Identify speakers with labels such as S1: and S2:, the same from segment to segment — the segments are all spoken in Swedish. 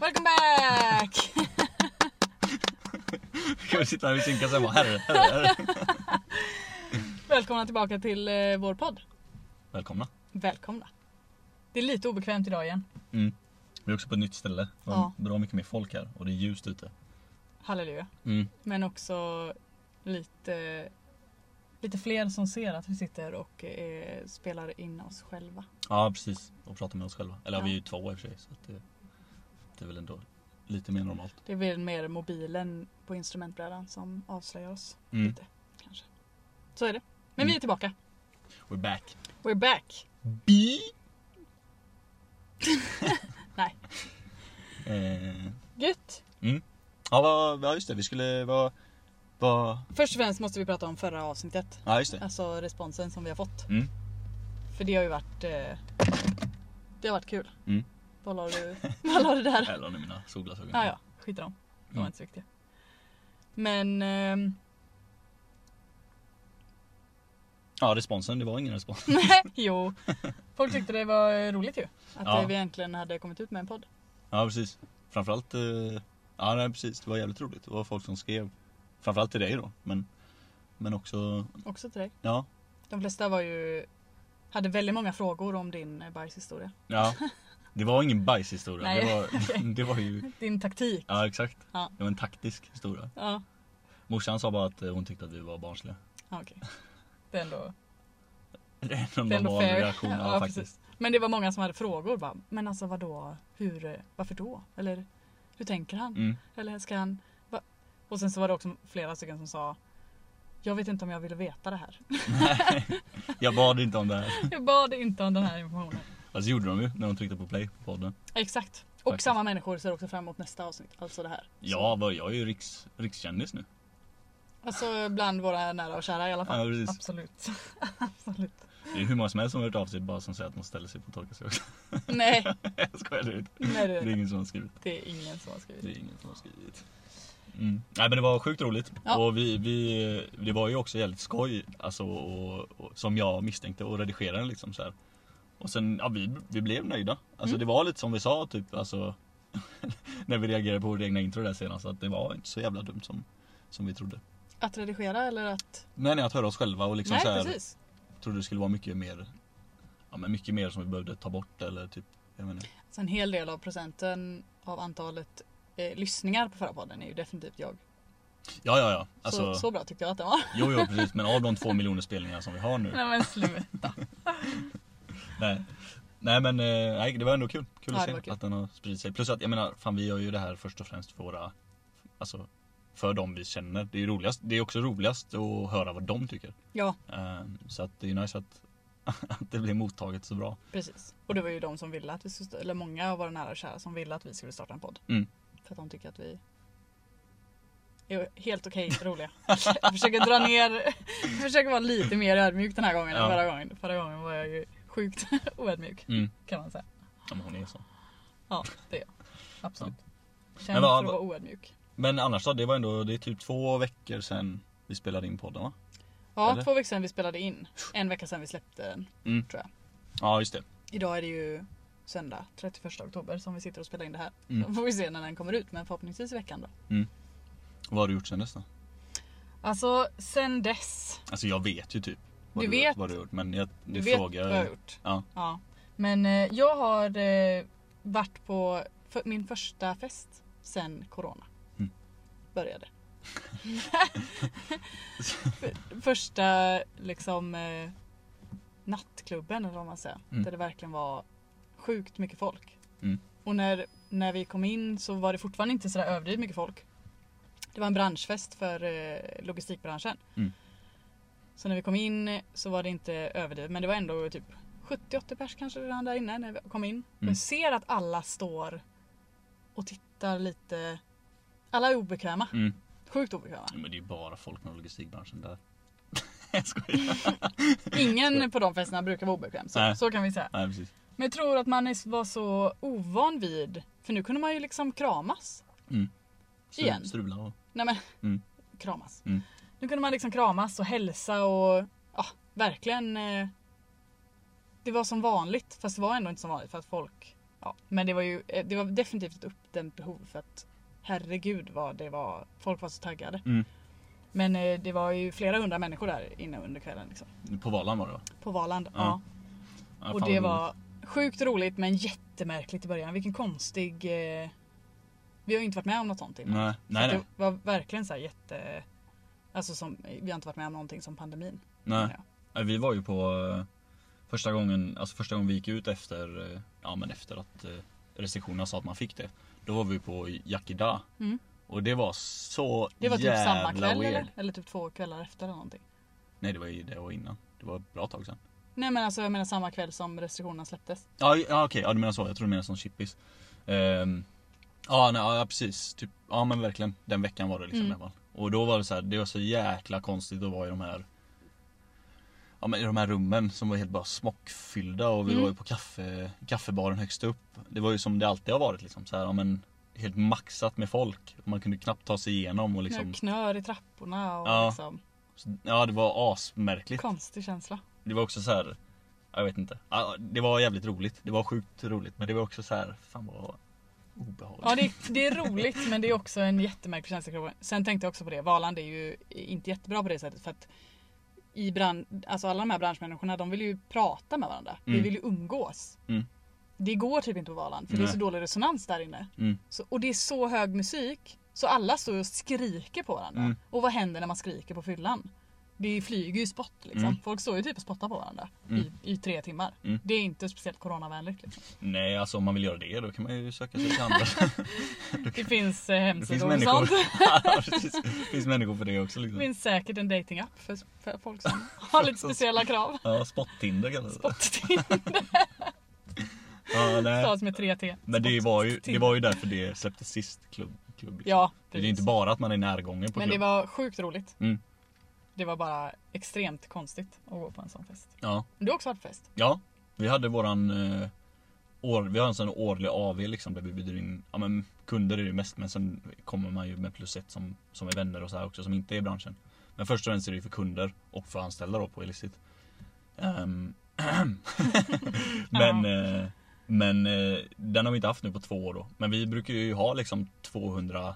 S1: Welcome back!
S2: Kan vi sitta här och synka sen bara herre, herre, herre.
S1: Välkomna tillbaka till eh, vår podd.
S2: Välkomna.
S1: Välkomna. Det är lite obekvämt idag igen.
S2: Mm. Vi är också på ett nytt ställe. Det var
S1: Ja.
S2: bra mycket mer folk här och det är ljust ute.
S1: Halleluja.
S2: Mm.
S1: Men också lite, lite fler som ser att vi sitter och eh, spelar in oss själva.
S2: Ja precis, och prata med oss själva. Eller
S1: Ja.
S2: vi är ju två i och för sig så att det, det är väl ändå lite mer normalt.
S1: Det är väl mer mobilen på instrumentbrädan som avslöjar oss.
S2: Mm.
S1: Lite, kanske. Så är det. Men vi är tillbaka.
S2: We're back.
S1: We're back.
S2: Bi!
S1: Nej.
S2: Eh,
S1: Gött.
S2: ja, vad- ja just det, vi skulle vara... Var,
S1: Först och främst måste vi prata om förra avsnittet.
S2: ja just det.
S1: Alltså responsen som vi har fått.
S2: Mm.
S1: För det har ju varit eh, Det har varit kul.
S2: Mm.
S1: Vad la du, vad la du där?
S2: Jag la ner mina solglasögon.
S1: Ja, ja, skit i dem. De var
S2: Mm.
S1: inte så viktiga. Men ehm,
S2: ja responsen, det var ingen respons.
S1: nej, jo. Folk tyckte det var roligt ju. Att
S2: Ja.
S1: eh, vi äntligen hade kommit ut med en podd.
S2: Ja precis. Framförallt, eh, ja nej, precis det var jävligt roligt. Det var folk som skrev. Framförallt till dig då. Men, men också,
S1: Också till dig.
S2: ja.
S1: De flesta var ju Hade väldigt många frågor om din eh, bajshistoria.
S2: ja. Det var ingen bajshistoria.
S1: Nej,
S2: Det, var, det var ju,
S1: Din taktik.
S2: ja exakt.
S1: Ja.
S2: Det var en taktisk historia.
S1: Ja,
S2: Morsan sa bara att eh, hon tyckte att vi var barnsliga.
S1: ja okej. Det är ändå
S2: Det är en
S1: Det är ändå
S2: normal
S1: fair.
S2: reaktion. Ja,
S1: Ja, precis.
S2: faktiskt.
S1: Men det var många som hade frågor. Bara, men alltså vadå? Hur, eh, varför då? Eller hur tänker han?
S2: Mm.
S1: Eller ska han... Va? Och sen så var det också flera stycken som sa Jag vet inte om jag ville veta det här.
S2: Jag bad inte om det här.
S1: Jag bad inte om den här informationen.
S2: Alltså gjorde de ju när de tryckte på play på podden.
S1: Exakt. Och
S2: Faktiskt.
S1: samma människor ser också fram emot nästa avsnitt. Alltså det här.
S2: Ja, vad- jag är ju riks, rikskändis nu.
S1: Så, alltså bland våra nära och kära i alla fall.
S2: Ja, precis.
S1: Absolut. Absolut.
S2: Det är hur många som helst som har hört av sig bara som säger att de ställer sig på torkarskog.
S1: Nej.
S2: Jag skojar, det är inte-
S1: Nej
S2: det är
S1: du.
S2: ingen som har skrivit.
S1: Det är ingen som har
S2: Det
S1: skrivit.
S2: är ingen som har skrivit. Mm. Nej men det var sjukt roligt.
S1: Ja.
S2: Och vi, vi, det var ju också jävligt skoj, alltså, och, och, som jag misstänkte, att redigera den liksom så här. Och sen, ja vi, vi blev nöjda. Alltså
S1: Mm.
S2: det var lite som vi sa typ, alltså när vi reagerade på vårt egna intro där senast, att det var inte så jävla dumt som, som vi trodde.
S1: Att redigera eller att...
S2: Nej nej, att höra oss själva och liksom
S1: Nej
S2: så här,
S1: precis.
S2: trodde det skulle vara mycket mer, ja men mycket mer som vi behövde ta bort eller typ, jag menar.
S1: Så en hel del av procenten av antalet eh, lyssningar på förra podden är ju definitivt jag.
S2: Ja ja ja, alltså,
S1: Så, så bra tyckte jag att den var.
S2: jo jo precis, men av de två miljoner spelningar som vi har nu
S1: Nej men sluta.
S2: Nej. Nej men eh, nej, det var ändå kul. Kul
S1: Ja,
S2: att
S1: det
S2: se
S1: var kul.
S2: att den har spridit sig. Plus att jag menar, fan vi gör ju det här först och främst för våra, alltså för de vi känner. Det är ju roligast, det är också roligast att höra vad de tycker.
S1: Ja
S2: Eh, Så att det är nice att, att det blir mottaget så bra.
S1: precis. Och det var ju de som ville att vi skulle, eller många av våra nära och kära som ville att vi skulle starta en podd.
S2: Mm.
S1: För att de tycker att vi är helt okej roliga. Jag försöker dra ner, jag försöker vara lite mer ödmjuk den här gången
S2: Ja.
S1: än förra gången. Förra gången var jag ju sjukt oödmjuk
S2: Mm.
S1: kan man säga.
S2: Ja, men hon är så.
S1: Ja det är jag. Absolut. Känd
S2: Men
S1: för
S2: vad-
S1: att vara oödmjuk.
S2: Men annars då, det var ändå, det är typ två veckor sedan vi spelade in podden va?
S1: Ja
S2: Eller?
S1: två veckor sedan vi spelade in. En vecka sedan vi släppte den.
S2: Ja just det.
S1: Idag är det ju söndag 31 oktober som vi sitter och spelar in det här.
S2: Mm.
S1: Då får vi se när den kommer ut men förhoppningsvis i veckan då.
S2: Vad har du gjort sen dess då?
S1: Alltså sen dess.
S2: Alltså jag vet ju typ. Vad
S1: Du
S2: du,
S1: vet.
S2: Vad du har gjort men jag,
S1: Du
S2: du
S1: vet
S2: frågar.
S1: vad jag har gjort.
S2: Ja.
S1: Men eh, jag har eh, varit på för, min första fest sen corona
S2: Mm.
S1: började. För- första liksom eh, nattklubben eller vad man säger.
S2: Mm.
S1: Där det verkligen var sjukt mycket folk.
S2: Mm.
S1: Och när, när vi kom in så var det fortfarande inte sådär överdrivet mycket folk. Det var en branschfest för eh, logistikbranschen.
S2: Mm.
S1: Så när vi kom in så var det inte överdrivet men det var ändå typ 70-80 pers kanske redan där inne när vi kom in. Och
S2: Mm.
S1: Jag ser att alla står och tittar lite. Alla är obekväma.
S2: Mm.
S1: Sjukt obekväma.
S2: Ja, Men det är ju bara folk från logistikbranschen där. jag skojar.
S1: Ingen på de festerna brukar vara obekväm. Så,
S2: Nej.
S1: så kan vi säga.
S2: Nej precis.
S1: Men jag tror att man är- var så ovan vid, för nu kunde man ju liksom kramas.
S2: Stru-
S1: Igen.
S2: Strula och...
S1: Nej men,
S2: Mm.
S1: kramas.
S2: Mm.
S1: Nu kunde man liksom kramas och hälsa och ja, verkligen. Eh, det var som vanligt fast det var ändå inte som vanligt för att folk, ja Ja, men det var ju eh, det var definitivt ett uppdämt behov för att herregud vad det var. Folk var så taggade.
S2: Mm.
S1: Men eh, det var ju flera hundra människor där inne under kvällen. Liksom.
S2: På Valand var det va?
S1: På Valand.
S2: Ja.
S1: Ja.
S2: Ja, fan
S1: Och det
S2: vad roligt.
S1: var sjukt roligt men jättemärkligt i början. Vilken konstig... Eh... Vi har ju inte varit med om något sånt innan.
S2: Nej, nej,
S1: Så
S2: nej.
S1: Det var verkligen så här jätte... Alltså som, vi har inte varit med om någonting som pandemin.
S2: nej.
S1: menar jag.
S2: Nej, Vi var ju på eh, första gången, alltså första gången vi gick ut efter, eh, ja men efter att eh, restriktionerna sa att man fick det. Då var vi på Yakida.
S1: Mm.
S2: Och det var så
S1: Det var typ samma
S2: jävla
S1: kväll
S2: weird.
S1: eller? eller typ två kvällar efter eller någonting.
S2: Nej det var ju det var innan. Det var ett bra tag sedan.
S1: Nej men alltså jag menar samma kväll som restriktionerna släpptes.
S2: Ja, ja okej, ja, du menar så. Jag tror du menar som chippis. Ehm, ja, nej, ja precis. Typ, ja men verkligen. Den veckan var det liksom
S1: Mm.
S2: i alla fall. Och då var det så här, det var så jäkla konstigt att vara i de här Ja men i de här rummen som var helt bara smockfyllda och vi
S1: Mm.
S2: var ju på kaffe, kaffebaren högst upp. Det var ju som det alltid har varit liksom så här, ja, men helt maxat med folk. Man kunde knappt ta sig igenom och liksom
S1: Knör i trapporna och
S2: Ja.
S1: liksom,
S2: Ja det var asmärkligt.
S1: konstig känsla.
S2: Det var också så här. Jag vet inte. Ja, Det var jävligt roligt. Det var sjukt roligt. Men det var också så här. Fan vad obehagligt.
S1: Ja det är, det är roligt men det är också en jättemärklig känsla i kroppen. Sen tänkte jag också på det, Valand är ju inte jättebra på det sättet för att i brand, alltså alla de här branschmänniskorna de vill ju prata med varandra. Vi
S2: Mm.
S1: vill ju umgås.
S2: Mm.
S1: Det går typ inte på Valand för det är
S2: Nej.
S1: så dålig resonans där inne.
S2: Mm.
S1: Så, och det är så hög musik så alla står och skriker på varandra.
S2: Mm.
S1: Och vad händer när man skriker på fyllan? Det flyger ju spott liksom.
S2: Mm.
S1: Folk står ju typ och spottar på varandra
S2: Mm.
S1: i, i tre timmar.
S2: Mm.
S1: Det är inte speciellt coronavänligt. Liksom.
S2: Nej alltså om man vill göra det då kan man ju söka sig till andra.
S1: Det finns eh,
S2: det finns
S1: hemsidor och
S2: människor.
S1: sånt.
S2: Ja, precis. det finns människor för det också
S1: Det
S2: liksom.
S1: finns säkert en datingapp för, för folk som har lite speciella krav.
S2: Ja spot-Tinder kallas det.
S1: Spot-Tinder
S2: Ja, nej.
S1: stavas med 3T.
S2: Men det
S1: Spot-
S2: var, ju, det
S1: Tinder.
S2: var ju därför det släpptes sist. Klubb, klubb liksom.
S1: Ja,
S2: Det är ju inte
S1: precis.
S2: bara att man är närgången på
S1: Men det
S2: klubb.
S1: var sjukt roligt.
S2: Mm.
S1: Det var bara extremt konstigt att gå på en sån fest.
S2: Ja.
S1: Du har också varit på fest?
S2: Ja, vi hade våran eh, år, vi har en sån årlig AV liksom där vi bjuder in ja, men kunder är det ju mest men sen kommer man ju med plus ett som, som är vänner och så här också som inte är i branschen. Men först och främst är det ju för kunder och för anställda då på Elicit. Ehm, men eh, men eh, den har vi inte haft nu på två år då. Men vi brukar ju ha liksom 200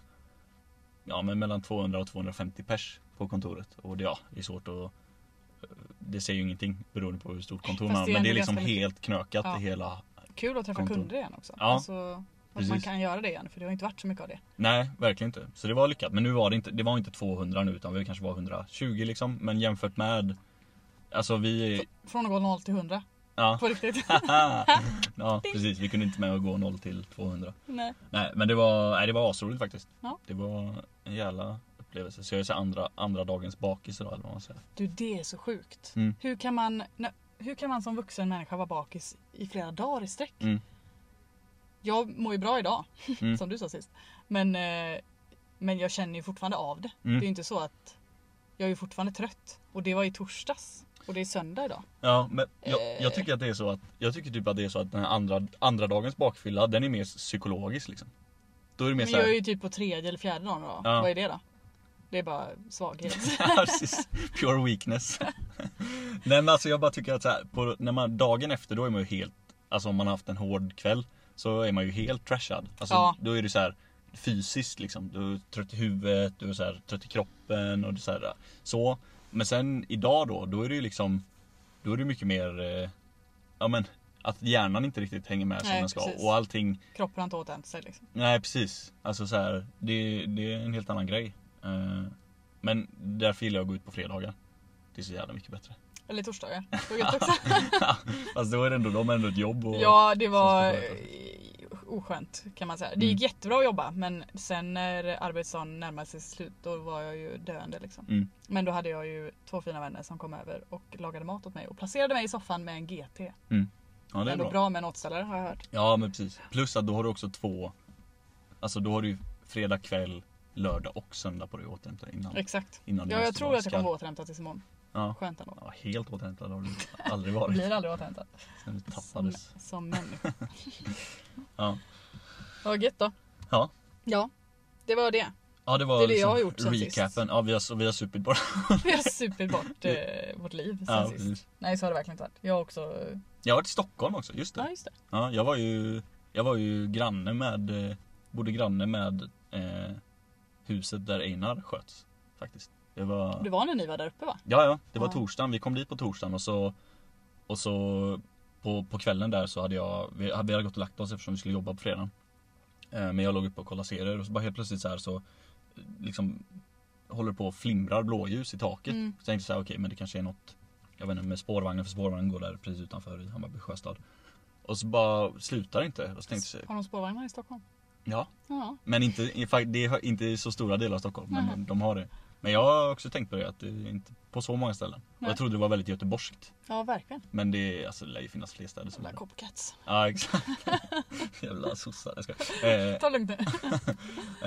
S2: Ja men mellan 200 och 250 pers på kontoret och det, ja, det är svårt att Det säger ju ingenting beroende på hur stort kontor
S1: Fast
S2: man har
S1: det är
S2: men det är
S1: ändå
S2: liksom
S1: ganska mycket.
S2: helt knökat
S1: Ja.
S2: i hela
S1: Kul att träffa
S2: Kontor.
S1: kunder igen också.
S2: Ja,
S1: alltså, att man
S2: precis.
S1: kan göra det igen för det har inte varit så mycket av det.
S2: Nej, verkligen inte. Så det var lyckat. Men nu var det inte, det var inte 200 nu utan vi kanske var 120 liksom. Men jämfört med Alltså vi...
S1: Från att gå 0 till 100.
S2: Ja,
S1: På riktigt.
S2: ja precis. Vi kunde inte med att gå 0 till 200.
S1: Nej.
S2: Nej men det var, nej, det var asroligt faktiskt.
S1: Ja.
S2: Det var en jävla upplevelse. Så jag är så här andra, andra dagens bakis idag eller vad man säger.
S1: Du det är så sjukt.
S2: Mm.
S1: Hur, kan man, nä- hur kan man som vuxen människa vara bakis i flera dagar i sträck?
S2: Mm.
S1: Jag mår ju bra idag,
S2: Mm.
S1: som du sa sist. Men, eh, men jag känner ju fortfarande av det.
S2: Mm.
S1: Det är ju inte så att jag är ju fortfarande trött. Och det var i torsdags. Och det är söndag idag.
S2: Ja men jag,
S1: Eh.
S2: jag tycker att det är så att Jag tycker typ att det är så att den här andra, andra dagens bakfylla den är mer psykologisk liksom. Då är det mer
S1: Men
S2: så här,
S1: jag är ju typ på tredje eller fjärde dagen idag.
S2: Ja.
S1: Vad är det då? Det är bara svaghet.
S2: Ja, precis. Pure weakness. Nej men alltså jag bara tycker att så här, på, när man, dagen efter då är man ju helt, alltså om man har haft en hård kväll så är man ju helt trashad. Alltså
S1: Ja.
S2: då är du så här fysiskt liksom, du är trött i huvudet, du är så här, trött i kroppen och du så, här, så. Men sen idag då, då är det ju liksom, då är det mycket mer, eh, ja men att hjärnan inte riktigt hänger med som
S1: Nej,
S2: den ska
S1: precis.
S2: och allting
S1: Kroppen har inte återhämtat sig liksom.
S2: Nej precis. Alltså så här, det, det är en helt annan grej. Eh, men därför gillar jag att gå ut på fredagar. Det är så jävla mycket bättre.
S1: Eller torsdagar. Det var gött också.
S2: Fast då är det ändå, de har ändå ett jobb och...
S1: Ja, det var
S2: som ska Mm.
S1: eh, oskönt kan man säga. Det gick jättebra att jobba men sen när arbetsdagen närmade sig sitt slut då var jag ju döende liksom.
S2: Mm.
S1: Men då hade jag ju två fina vänner som kom över och lagade mat åt mig och placerade mig i soffan med en GT.
S2: ja det är
S1: Ändå bra.
S2: bra.
S1: med en åtställare har jag hört.
S2: Ja men precis. Plus att då har du också två... Alltså då har du ju fredag kväll, lördag och söndag på dig att återhämta dig innan.
S1: Exakt.
S2: innan du
S1: Ja, jag
S2: måste
S1: tror
S2: vara
S1: att jag kommer
S2: skarp.
S1: vara återhämtad tills imorgon.
S2: Ja.
S1: Skönt ändå.
S2: ja, helt återhämtad har du aldrig
S1: Jag
S2: varit.
S1: blir aldrig återhämtad.
S2: Sen du
S1: Som,
S2: tappades.
S1: som människa.
S2: Ja.
S1: Vad gött då.
S2: Ja.
S1: Ja. Det var det.
S2: Ja det var liksom
S1: Det är det jag har gjort sen sist.
S2: recapen. Ja vi har, vi har supit bara.
S1: Vi har supit bort eh, vårt liv sen
S2: Ja,
S1: sist.
S2: precis.
S1: Nej så har det verkligen inte varit. Jag har också... eh,
S2: jag har varit i Stockholm också, just det.
S1: Ja just det.
S2: Ja, jag var ju... Jag var ju granne med, eh, bodde granne med eh, huset där Einar sköts. Faktiskt. Det var...
S1: Det var när ni var där uppe va?
S2: Ja, ja. Det var
S1: Ja.
S2: torsdagen. Vi kom dit på torsdagen och så, och så på, på kvällen där så hade jag, vi hade, vi hade gått och lagt oss eftersom vi skulle jobba på fredagen. Eh, men jag låg uppe och kollade serier och så bara helt plötsligt så här så liksom håller på och flimrar blåljus i taket.
S1: Mm.
S2: Så jag tänkte så här, okej men det kanske är något, jag vet inte med spårvagnen för spårvagnen går där precis utanför i Hammarby sjöstad. Och så bara slutar det inte. Och så tänkte jag, så här,
S1: Har de spårvagnar i Stockholm?
S2: ja
S1: Ja.
S2: men inte, i fakt- det är inte i så stora delar av Stockholm, men
S1: Mhm.
S2: de har det. Men jag har också tänkt på det, att det är inte på så många ställen. Och
S1: Nej.
S2: jag trodde det var väldigt göteborgskt.
S1: Ja verkligen.
S2: Men det, är- alltså, det lär ju finnas fler städer som har
S1: Jävla
S2: det.
S1: copcats.
S2: Ja exakt. Jävla sossar, jag skojar. Eh,
S1: Ta lugnt nu.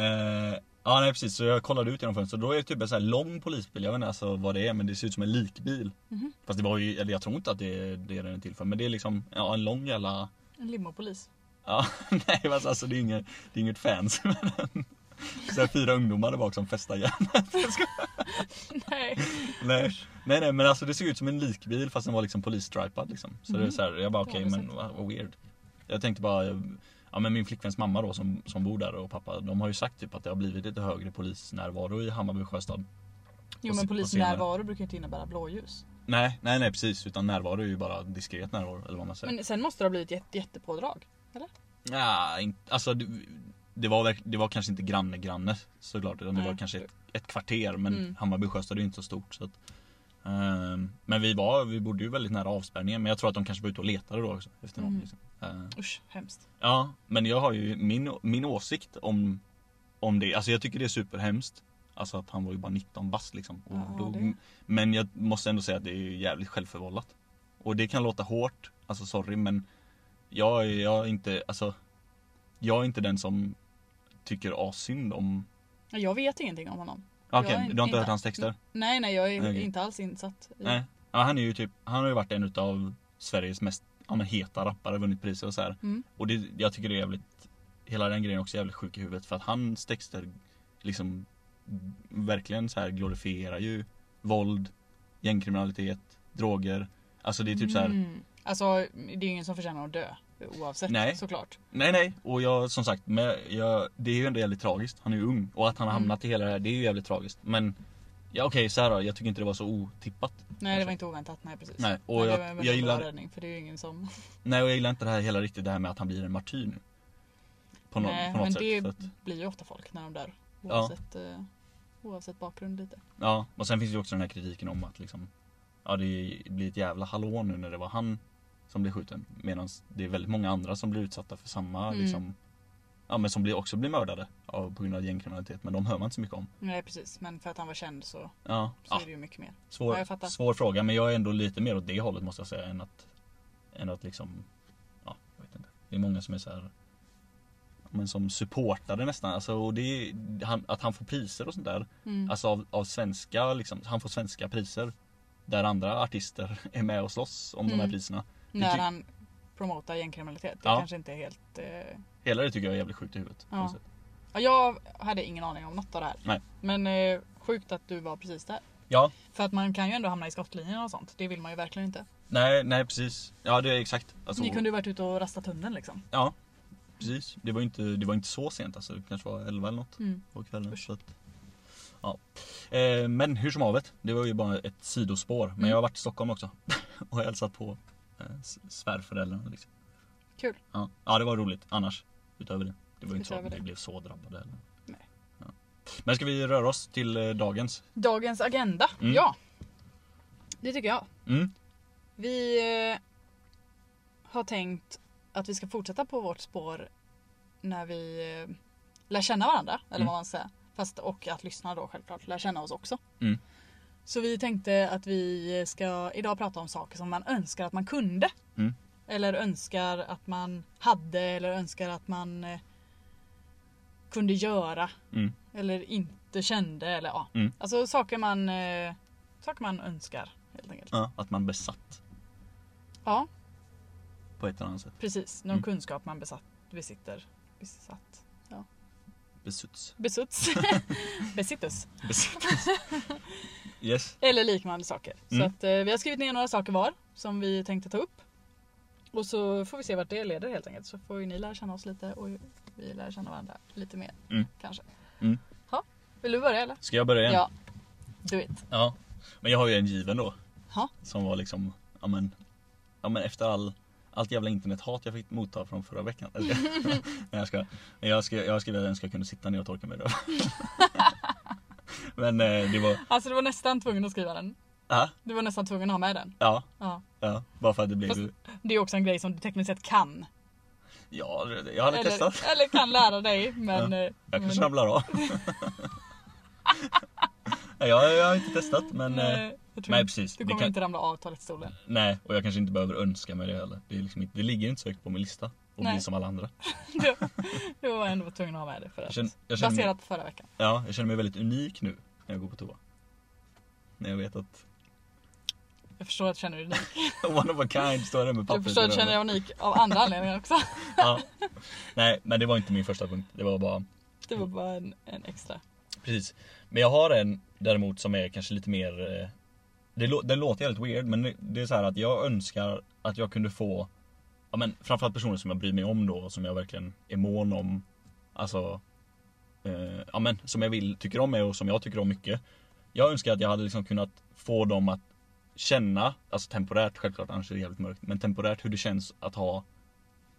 S2: eh, ja nej precis, så jag kollade ut genom fönstret. Då är det typ en sån här lång polisbil, jag vet inte alltså vad det är men det ser ut som en likbil.
S1: Mhm.
S2: Fast det var ju, eller jag tror inte att det, det är den är till för. Men det är liksom, ja en lång jävla
S1: En limopolis.
S2: Ja, nej men alltså det är inget, det är inget fancy med den. Så här fyra ungdomar där bak som festar järnet.
S1: Nej.
S2: Nej. nej nej men alltså det såg ut som en likbil fast den var liksom polisstripad liksom. Så det är
S1: Mhm.
S2: så här, jag bara okej
S1: Ja, det är
S2: men vad, vad weird. Jag tänkte bara, eh, ja men min flickväns mamma då som, som bor där och pappa de har ju sagt typ att det har blivit lite högre polisnärvaro i Hammarby sjöstad.
S1: Jo
S2: Och
S1: men
S2: se- och
S1: polisnärvaro brukar ju inte innebära blåljus.
S2: Nej, nej nej precis utan närvaro är ju bara diskret närvaro eller vad man säger.
S1: Men sen måste det ha blivit jätte, jättepådrag.
S2: Ja, inte, alltså det, det, var, verk- det var kanske inte granne granne såklart utan det
S1: Nej.
S2: var kanske ett, ett kvarter men
S1: Mm.
S2: Hammarby sjöstad är ju inte så stort. Så att, ehm, men vi, var, vi bodde ju väldigt nära avspärrningen men jag tror att de kanske var ute och letade då också. Efter någon,
S1: Mm.
S2: liksom. Ehm,
S1: Usch, hemskt.
S2: ja, men jag har ju min, min åsikt om, om det. Alltså jag tycker det är superhemskt. Alltså att han var ju bara 19 bast liksom. Och
S1: Ja,
S2: dog.
S1: det.
S2: Men jag måste ändå säga att det är ju jävligt självförvållat. Och det kan låta hårt, alltså sorry men jag är, jag är inte, alltså jag är inte den som tycker asynd om
S1: Ja, Jag vet ingenting om honom.
S2: Ah,
S1: Jag
S2: Okej,
S1: är
S2: du har inte
S1: inte-
S2: hört hans texter?
S1: Nej nej jag är
S2: Okej.
S1: inte alls insatt. I...
S2: Nej. Ja, han är ju typ, han har ju varit en utav Sveriges mest ja, men heta rappare, vunnit priser och så här.
S1: Mm.
S2: Och det, jag tycker det är jävligt, hela den grejen är också jävligt sjuk i huvudet för att hans texter liksom verkligen så här glorifierar ju våld, gängkriminalitet, droger. Alltså det är typ så här
S1: Mm. Alltså det är ju ingen som förtjänar att dö. Oavsett
S2: Nej.
S1: såklart.
S2: Nej nej, och jag som sagt, men jag, det är ju ändå jävligt tragiskt. Han är ju ung och att han har
S1: Mm.
S2: hamnat i hela det här, det är ju jävligt tragiskt. Men ja, okej så här då, jag tycker inte det var så otippat.
S1: Nej det var inte oväntat. Nej precis.
S2: Nej, och
S1: Men det
S2: jag-
S1: var en väldigt
S2: jag
S1: bra
S2: gillar-
S1: räddning, för det är ju ingen som...
S2: Nej och jag gillar inte det här hela riktigt, det här med att han blir en martyr nu. På, nå-
S1: Nej,
S2: på något
S1: men
S2: sätt.
S1: det-
S2: Så att,
S1: blir ju ofta folk när de dör.
S2: Ja.
S1: Oavsett, eh, oavsett bakgrund lite.
S2: ja, och sen finns ju också den här kritiken om att liksom, ja det blir ett jävla hallå nu när det var han som blev skjuten. Medan det är väldigt många andra som blir utsatta för samma
S1: Mm.
S2: liksom, ja men som blir, också blir mördade av, på grund av gängkriminalitet. Men de hör man inte så mycket om.
S1: Nej precis, men för att han var känd så,
S2: Ja,
S1: så
S2: ja
S1: är det ju mycket mer.
S2: Svår,
S1: Ja, jag fattar.
S2: svår fråga men jag är ändå lite mer åt det hållet måste jag säga än att, än att liksom, ja jag vet inte. Det är många som är så här men som supportade nästan, alltså, och det är, han, att han får priser och sånt där.
S1: Mm.
S2: Alltså av, av svenska, liksom, han får svenska priser. Där andra artister är med och slåss om de här
S1: Mm.
S2: priserna.
S1: när
S2: ty-
S1: han promotar gängkriminalitet. Det
S2: Ja.
S1: kanske inte är helt... Eh...
S2: Hela det tycker jag är jävligt sjukt i huvudet. på
S1: Ja.
S2: något sätt.
S1: Ja, Jag hade ingen aning om något av det här.
S2: Nej.
S1: Men eh, sjukt att du var precis där.
S2: ja.
S1: För att man kan ju ändå hamna i skottlinjen och sånt. Det vill man ju verkligen inte.
S2: Nej, nej precis. Ja det är exakt. Alltså,
S1: Ni kunde ju varit ute och rastat hunden liksom.
S2: Ja, precis. Det var ju inte, det var inte så sent alltså. Det kanske var 11 eller något.
S1: Mm.
S2: på kvällen.
S1: Usch.
S2: Så att, ja. eh, men hur som havet, det var ju bara ett sidospår. Men
S1: Mm.
S2: jag har varit i Stockholm också och hälsat på eh, s- svärföräldrarna. Liksom.
S1: Kul.
S2: Ja. ja, det var roligt annars. Utöver det. Det var ju inte så
S1: Utöver
S2: att vi
S1: det.
S2: blev så drabbade. Eller.
S1: Nej.
S2: Ja. Men ska vi röra oss till eh, dagens?
S1: Dagens agenda.
S2: Mm.
S1: Ja. Det tycker jag.
S2: Mm.
S1: Vi eh, har tänkt att vi ska fortsätta på vårt spår när vi eh, lär känna varandra, eller
S2: Mm.
S1: vad man säger. Fast, och att lyssna då självklart, lär känna oss också.
S2: Mm.
S1: Så vi tänkte att vi ska idag prata om saker som man önskar att man kunde.
S2: Mm.
S1: Eller önskar att man hade eller önskar att man eh, kunde göra.
S2: Mm.
S1: Eller inte kände eller ja.
S2: Mm.
S1: Alltså saker man, eh, saker man önskar helt enkelt.
S2: Ja, att man besatt
S1: Ja,
S2: på ett eller annat sätt.
S1: precis. Någon
S2: Mm.
S1: kunskap man besatt, besitter. Besatt.
S2: Besuts.
S1: Besuts. Besittus.
S2: Besuts. yes.
S1: Eller liknande saker.
S2: Mm.
S1: Så att, eh, vi har skrivit ner några saker var som vi tänkte ta upp. Och så får vi se vart det leder helt enkelt. Så får ju ni lära känna oss lite och vi lär känna varandra lite mer
S2: Mm.
S1: kanske.
S2: Mm.
S1: Ja, vill du börja eller?
S2: Ska jag börja igen?
S1: Ja. Do it.
S2: Ja. Men jag har ju en given då.
S1: Ja.
S2: Som var liksom, ja men, ja men efter all, allt jävla internethat jag fick motta från förra veckan. Eller, Nej jag ska, men jag ska, jag skrev att jag önskar jag kunde sitta ner och torka mig då. men eh, det var,
S1: Alltså du var nästan tvungen att skriva den.
S2: ja,
S1: Du var nästan tvungen att ha med den.
S2: ja,
S1: Ja.
S2: ja, bara för att det blev,
S1: Fast- Det är också en grej som du tekniskt sett kan.
S2: ja, jag hade testat.
S1: Eller, eller kan lära dig men... eh,
S2: Jag kanske
S1: men
S2: ramlar av. Nej, jag, jag har inte testat men, eh,
S1: eh, jag tror
S2: nej
S1: inte-
S2: precis.
S1: Du
S2: Det
S1: kommer
S2: kan-
S1: inte ramla av toalettstolen.
S2: Nej, och jag kanske inte behöver önska mig det heller. Det, är liksom inte, det ligger inte så högt på min lista. Och
S1: Nej.
S2: bli som alla andra.
S1: Du, du var ändå tvungen att ha med det för att...
S2: Jag känner, jag, känner mig,
S1: baserat på förra veckan.
S2: ja, jag känner mig väldigt unik nu när jag går på toa. När jag vet att
S1: Jag förstår att du känner dig unik.
S2: one of a kind står där med
S1: Jag
S2: pappret
S1: förstår
S2: i
S1: att du känner dig
S2: röven.
S1: unik av andra anledningar också.
S2: ja. Nej, men det var inte min första punkt. Det var bara
S1: Det var bara en, en extra.
S2: Precis. Men jag har en däremot som är kanske lite mer... eh, Det, lå- det låter helt weird men det- det är så här att jag önskar att jag kunde få ja, men framförallt personer som jag bryr mig om då och som jag verkligen är mån om. Alltså, eh, ja, men, som jag vill, tycker om mig och som jag tycker om mycket. Jag önskar att jag hade liksom kunnat få dem att känna, alltså temporärt självklart annars är det jävligt mörkt, men temporärt hur det känns att ha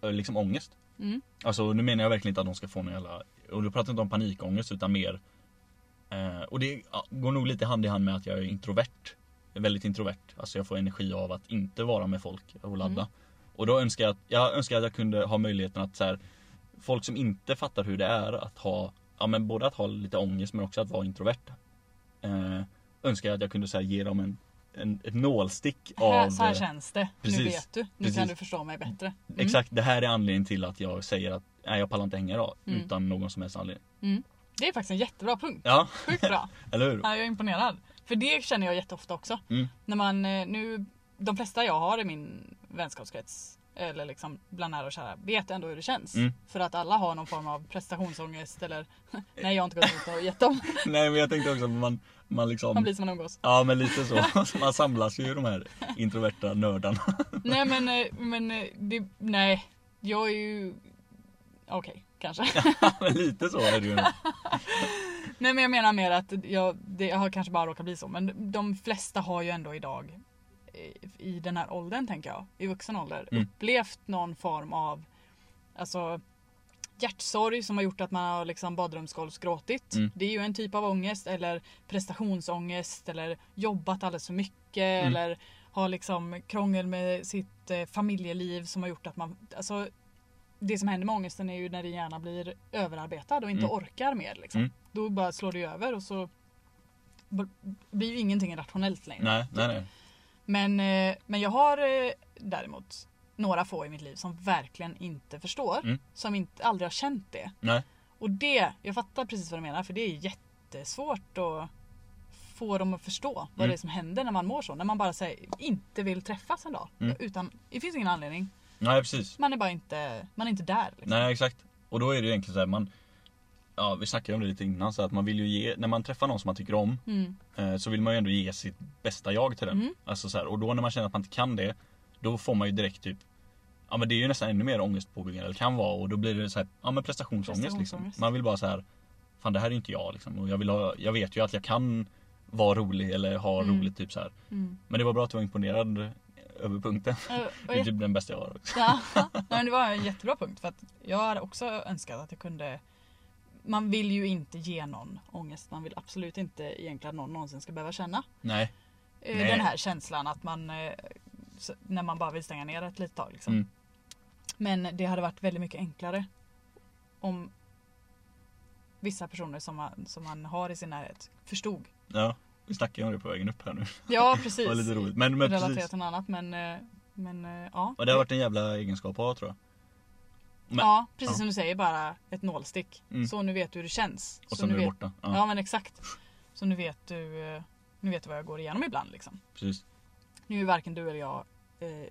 S2: eh, liksom ångest.
S1: Mm.
S2: Alltså nu menar jag verkligen inte att de ska få någon jävla, och då pratar jag inte om panikångest utan mer eh, Och det ja, går nog lite hand i hand med att jag är introvert Jag är Väldigt introvert, alltså jag får energi av att inte vara med folk och ladda
S1: Mm.
S2: Och då önskar jag, att- jag önskar att jag kunde ha möjligheten att så här, Folk som inte fattar hur det är att ha, ja men både att ha lite ångest men också att vara introvert eh, Önskar jag att jag kunde så här, ge dem en, en, ett nålstick
S1: här,
S2: av
S1: så här
S2: eh,
S1: känns det. Nu
S2: precis.
S1: vet du. Nu kan
S2: Precis.
S1: du förstå mig bättre. Mm.
S2: Exakt, det här är anledningen till att jag säger att nej, jag pallar inte hänga idag
S1: Mm.
S2: utan någon som helst anledning.
S1: Det är faktiskt en jättebra punkt.
S2: Ja,
S1: Sjukt bra.
S2: eller hur?
S1: Ja, jag är imponerad. För det känner jag jätteofta också.
S2: Mm.
S1: När man eh, nu, de flesta jag har i min vänskapskrets eller liksom bland nära och kära vet ändå hur det känns.
S2: Mm.
S1: För att alla har någon form av prestationsångest eller nej jag har inte gått ut och gett dem.
S2: Nej men jag tänkte också att man, man liksom
S1: Man blir som man umgås.
S2: Ja men lite så, Så man samlas ju i de här introverta nördarna.
S1: Nej men, eh, men eh, det, nej. Jag är ju... Okej, kanske.
S2: Ja, men lite så är det ju.
S1: Nej men jag menar mer att jag, det, jag har kanske bara råkat bli så. Men de flesta har ju ändå idag eh, i den här åldern tänker jag, i vuxen ålder,
S2: Mm.
S1: upplevt någon form av alltså, hjärtsorg som har gjort att man har liksom badrumsgolvsgråtit.
S2: Mm.
S1: Det är ju en typ av ångest eller prestationsångest eller jobbat alldeles för mycket
S2: Mm.
S1: eller har liksom krångel med sitt eh, familjeliv som har gjort att man alltså, det som händer med ångesten är ju när din hjärna blir överarbetad och inte
S2: Mm.
S1: orkar mer. Liksom.
S2: Mm.
S1: Då bara slår det ju över och så b- blir ju ingenting rationellt längre.
S2: Nej, nej, nej.
S1: Men, eh, men jag har eh, däremot några få i mitt liv som verkligen inte förstår.
S2: Mm.
S1: Som inte, aldrig har känt det.
S2: nej.
S1: Och det, jag fattar precis vad du menar för det är jättesvårt att få dem att förstå vad
S2: Mm.
S1: det är som händer när man mår så. När man bara säger inte vill träffas en dag.
S2: Mm.
S1: Utan, det finns ingen anledning.
S2: Nej precis.
S1: Man är bara inte, man är inte där. Liksom.
S2: Nej exakt. Och då är det ju egentligen så här man Ja vi snackade ju om det lite innan så att man vill ju ge, när man träffar någon som man tycker om
S1: Mm.
S2: eh, så vill man ju ändå ge sitt bästa jag till den.
S1: Mm.
S2: Alltså så här, och då när man känner att man inte kan det, då får man ju direkt typ Ja men det är ju nästan ännu mer ångestpåbyggande eller kan vara och då blir det så här, ja men prestationsångest liksom.
S1: Prestationsångest.
S2: Man vill bara så här Fan det här är inte jag liksom och jag, vill ha, jag vet ju att jag kan vara rolig eller ha
S1: Mm.
S2: roligt typ så här.
S1: Mm.
S2: Men det var bra att du var imponerad över punkten.
S1: Och-
S2: Det
S1: och
S2: är typ den bästa jag har. också.
S1: Ja, nej, men det var en jättebra punkt för att jag hade också önskat att jag kunde Man vill ju inte ge någon ångest, man vill absolut inte egentligen att någon någonsin ska behöva känna
S2: Nej.
S1: eh,
S2: Nej.
S1: den här känslan att man eh, så- när man bara vill stänga ner ett litet tag. Liksom.
S2: Mm.
S1: Men det hade varit väldigt mycket enklare om vissa personer som man, som man har i sin närhet förstod.
S2: Ja. Vi snackade om det på vägen upp här nu.
S1: Ja
S2: Det
S1: precis.
S2: var lite roligt. Men, men
S1: Relaterat
S2: precis.
S1: till något annat men, eh, men eh, ja.
S2: Och det har varit en jävla egenskap att ha tror jag. Men-
S1: ja, precis
S2: ja.
S1: som du säger, bara ett nålstick.
S2: Mm.
S1: Så nu vet du hur det känns.
S2: Och
S1: så
S2: sen är det
S1: vet,
S2: borta.
S1: ja.
S2: Ja,
S1: men exakt. Så nu vet du, eh, nu vet du vad jag går igenom ibland liksom.
S2: precis.
S1: Nu är varken du eller jag eh,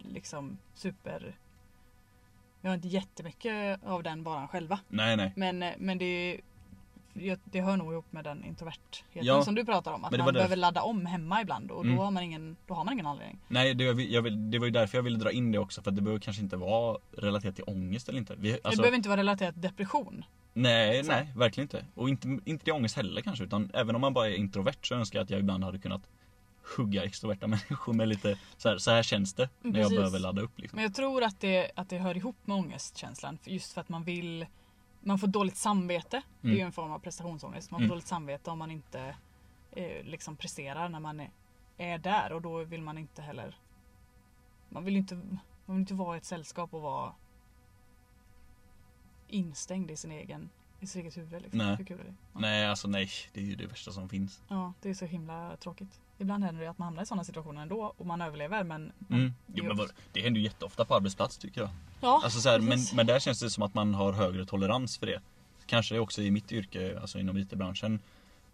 S1: liksom super... Vi har inte jättemycket av den varan själva.
S2: Nej nej.
S1: Men, eh, men det är jag- det hör nog ihop med den introvertheten
S2: Ja.
S1: som du pratar om. Att
S2: Men det
S1: man
S2: var därför-
S1: behöver ladda om hemma ibland och
S2: Mm.
S1: då, har man ingen, då har man ingen anledning.
S2: Nej, det, jag, vill- jag, vill- det var ju därför jag ville dra in det också. För att det behöver kanske inte vara relaterat till ångest eller inte. Vi,
S1: det
S2: alltså,
S1: behöver inte vara relaterat till depression.
S2: Nej,
S1: Så.
S2: nej, verkligen inte. Och inte, inte till ångest heller kanske. Utan även om man bara är introvert så önskar jag att jag ibland hade kunnat hugga extroverta människor med lite så här, så här känns det när jag
S1: Precis.
S2: behöver ladda upp. Liksom.
S1: Men jag tror att det, att det hör ihop med ångestkänslan. för- Just för att man vill Man får dåligt samvete. Det är ju
S2: Mm.
S1: en form av prestationsångest. Man får
S2: Mm.
S1: dåligt samvete om man inte eh, liksom presterar när man är, är där. Och då vill man inte heller Man vill inte, man vill inte vara i ett sällskap och vara instängd i sin egen i sitt eget huvud. Liksom.
S2: Nej.
S1: Hur kul är det? Ja.
S2: Nej, alltså nej, det är ju det värsta som finns.
S1: ja, det är så himla tråkigt. Ibland händer det att man hamnar i sådana situationer ändå och man överlever men
S2: Mm. Jo,
S1: Jo.
S2: men vad, det händer ju jätteofta på arbetsplats tycker jag.
S1: ja,
S2: Alltså, så här, men,
S1: precis.
S2: men där känns det som att man har högre tolerans för det. Kanske också i mitt yrke, alltså inom IT-branschen.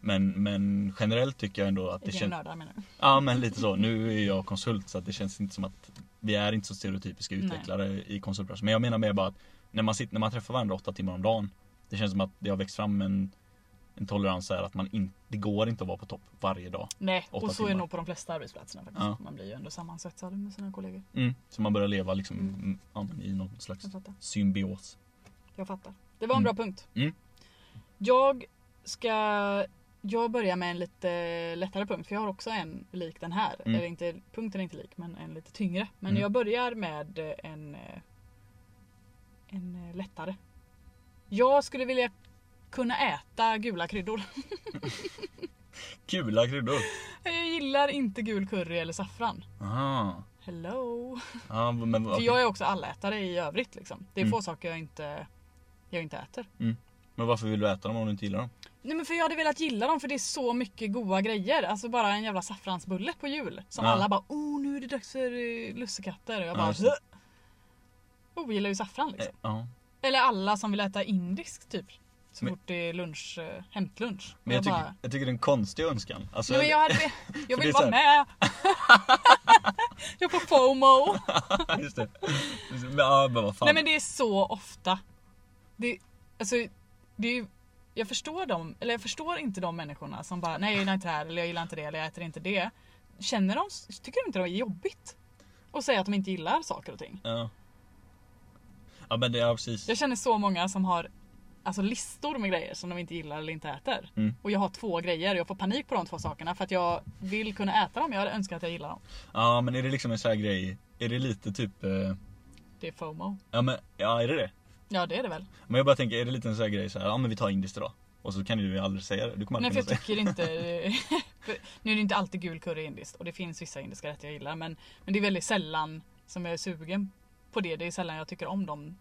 S2: Men, men generellt tycker jag ändå att det
S1: Egen
S2: känns...
S1: nördar menar du?
S2: Ja men lite så. Nu är jag konsult så att det känns inte som att vi är inte så stereotypiska
S1: Nej.
S2: utvecklare i konsultbranschen. Men jag menar mer bara att när man, sitter, när man träffar varandra åtta timmar om dagen. Det känns som att det har växt fram en, en tolerans här att man in, det går inte att vara på topp varje dag.
S1: Nej,
S2: Åtta
S1: och så är
S2: timmar.
S1: nog på de flesta arbetsplatserna faktiskt.
S2: Ja.
S1: Man blir ju ändå sammansvetsad med sina kollegor.
S2: Så man börjar leva liksom,
S1: Mm.
S2: ja, men i någon slags
S1: Jag fattar.
S2: symbios.
S1: Jag fattar. Det var en
S2: Mm.
S1: bra punkt.
S2: Mm.
S1: Jag ska... Jag börjar med en lite lättare punkt för jag har också en lik den här.
S2: Mm.
S1: Eller inte, punkten är inte lik men en lite tyngre. Men
S2: Mm.
S1: jag börjar med en, eh, en eh, lättare. Jag skulle vilja kunna äta gula kryddor.
S2: Gula kryddor.
S1: Jag gillar inte gul curry eller saffran.
S2: Aha.
S1: Hello!
S2: Ja, men,
S1: För
S2: okej.
S1: jag är också allätare i övrigt liksom. Det är
S2: Mm.
S1: få saker jag inte, jag inte äter.
S2: men varför vill du äta dem om du inte gillar dem?
S1: Nej men för jag hade velat gilla dem för det är så mycket goda grejer. Alltså bara en jävla saffransbulle på jul. Som
S2: Ja.
S1: alla bara oh nu är det dags för eh, lussekatter. Och jag
S2: Ja,
S1: bara
S2: just det.
S1: ogillar ju saffran liksom.
S2: Eh, Ja.
S1: Eller alla som vill äta indiskt typ. Så
S2: Men-
S1: fort det är lunch, eh, hämtlunch.
S2: Men jag,
S1: bara,
S2: tycker, jag tycker det är en konstig önskan. Alltså,
S1: Nej, men jag, hade, jag
S2: För det är
S1: vill
S2: så
S1: vara med. jag får fomo.
S2: just det. Men, ja, men vad fan.
S1: Nej men det är så ofta. Det, alltså, det är, ju- jag förstår dem, eller jag förstår inte de människorna som bara nej jag gillar inte det här eller jag gillar inte det eller jag äter inte det. Känner de, tycker de inte det är jobbigt? Och säga att de inte gillar saker och ting.
S2: Ja. Ja men det, ja precis.
S1: Jag känner så många som har alltså, listor med grejer som de inte gillar eller inte äter.
S2: Mm.
S1: Och jag har två grejer och jag får panik på de två sakerna för att jag vill kunna äta dem. Jag hade önskat att jag gillar dem.
S2: Ja men är det liksom en sån här grej, är det lite typ, eh,
S1: Det är FOMO.
S2: ja men ja är det det?
S1: Ja det är det väl.
S2: Men jag bara tänker, är det lite en sån här grej så här, ja men vi tar indiskt idag. Och så kan du ju aldrig säga det, du kommer
S1: Nej
S2: aldrig
S1: för jag
S2: kunna säga
S1: tycker inte... för, nu är det inte alltid gul curry indiskt och det finns vissa indiska rätter jag gillar men, men det är väldigt sällan som jag är sugen på det. Det är sällan jag tycker om de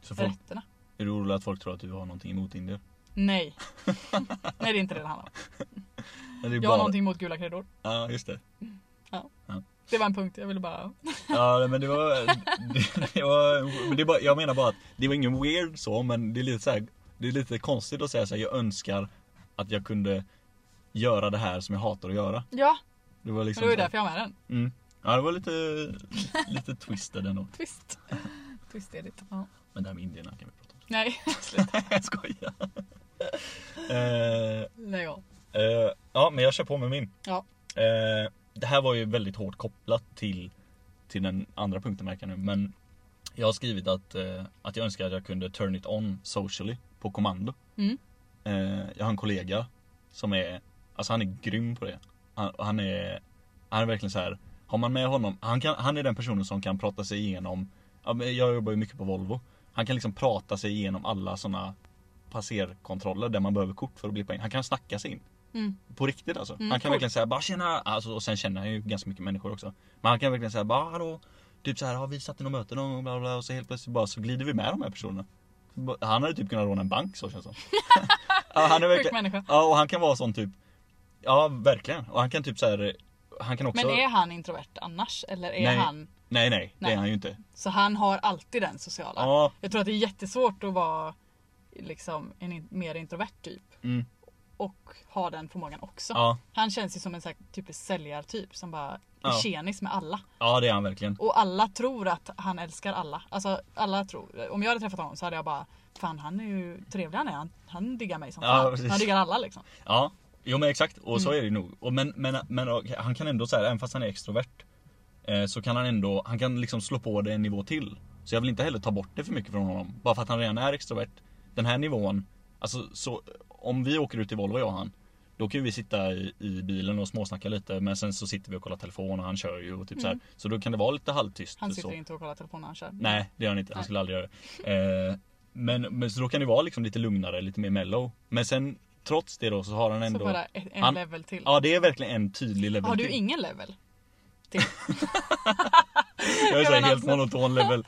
S2: Så folk,
S1: rätterna.
S2: är du orolig att folk tror att du har någonting emot indier?
S1: Nej. Nej det är inte det det handlar om.
S2: Men det är
S1: Jag har någonting emot gula kryddor.
S2: Ja just det.
S1: Det var en punkt, jag ville bara...
S2: Ja men det var, det, det var men det är bara, jag menar bara att det var ingen weird så men det är lite så här, det är lite konstigt att säga så här, jag önskar att jag kunde göra det här som jag hatar att göra.
S1: Ja,
S2: Det var
S1: men
S2: liksom
S1: det var ju
S2: så här-
S1: därför jag har med den.
S2: Mm. Ja det var lite, lite twisted ändå.
S1: Twist. Twist är det. Ja.
S2: Men det här med indierna kan vi prata om.
S1: Nej,
S2: Jag skojar. Eh,
S1: lägg av.
S2: eh, ja men jag kör på med min.
S1: Ja.
S2: Eh, det här var ju väldigt hårt kopplat till, till den andra punkten märker jag nu. Men jag har skrivit att, eh, att jag önskar att jag kunde turn it on socially på kommando.
S1: Mm.
S2: Eh, jag har en kollega som är, alltså han är grym på det. Han, han, är, han är verkligen så här. har man med honom, han, kan, han är den personen som kan prata sig igenom, ja, men jag jobbar ju mycket på Volvo. Han kan liksom prata sig igenom alla sådana passerkontroller där man behöver kort för att bli in. Han kan snacka sig in.
S1: Mm.
S2: På riktigt alltså.
S1: Mm,
S2: han kan
S1: coolt.
S2: verkligen säga bara tjena, alltså, och sen känner han ju ganska mycket människor också. Men han kan verkligen säga bara hallå, typ så här, har vi satt i något möte någon gång bla, bla, bla, och så helt plötsligt bara så glider vi med de här personerna. Bara- Han hade typ kunnat råna en bank så känns det som. ja, han är
S1: Sjuk
S2: verkligen,
S1: människa.
S2: ja och han kan vara sån typ, ja verkligen. Och han kan typ så här, han kan också,
S1: Men är han introvert annars? Eller är
S2: Nej.
S1: han...
S2: nej, nej det
S1: Nej.
S2: är han ju inte.
S1: Så han har alltid den sociala?
S2: Ja,
S1: Jag tror att det är jättesvårt att vara liksom en in- mer introvert typ.
S2: Mm.
S1: och har den förmågan också.
S2: Ja,
S1: Han känns ju som en så här typisk säljartyp som bara är
S2: Ja.
S1: tjenis med alla.
S2: ja det är han verkligen.
S1: Och alla tror att han älskar alla. Alltså alla tror. Om jag hade träffat honom så hade jag bara Fan han är ju trevlig han är. Han, han diggar mig som
S2: Ja,
S1: fan.
S2: precis.
S1: Han diggar alla liksom.
S2: Ja, jo men exakt. Och
S1: Mm.
S2: så är det nog. Och men, men, men och, han kan ändå så här, även fast han är extrovert. Eh, så kan han ändå, han kan liksom slå på det en nivå till. Så jag vill inte heller ta bort det för mycket från honom. Bara för att han redan är extrovert. Den här nivån, alltså så om vi åker ut i Volvo jag och han. Då kan ju vi sitta i, i bilen och småsnacka lite men sen så sitter vi och kollar telefon och han kör ju och typ så här. Så då kan det vara lite halvtyst.
S1: Mm. Han
S2: och
S1: sitter
S2: så.
S1: inte och kollar telefonen när han kör.
S2: Nej det gör han inte, han
S1: Nej.
S2: skulle aldrig göra det. Eh, men, men så då kan det vara liksom lite lugnare, lite mer mellow. Men sen trots det då så har han
S1: så
S2: ändå
S1: bara ett- en
S2: han-
S1: level till.
S2: Ja det är verkligen en tydlig level
S1: har du
S2: till.
S1: ingen level?
S2: Jag är
S1: Ja,
S2: såhär
S1: men
S2: helt
S1: alltså-
S2: monoton level,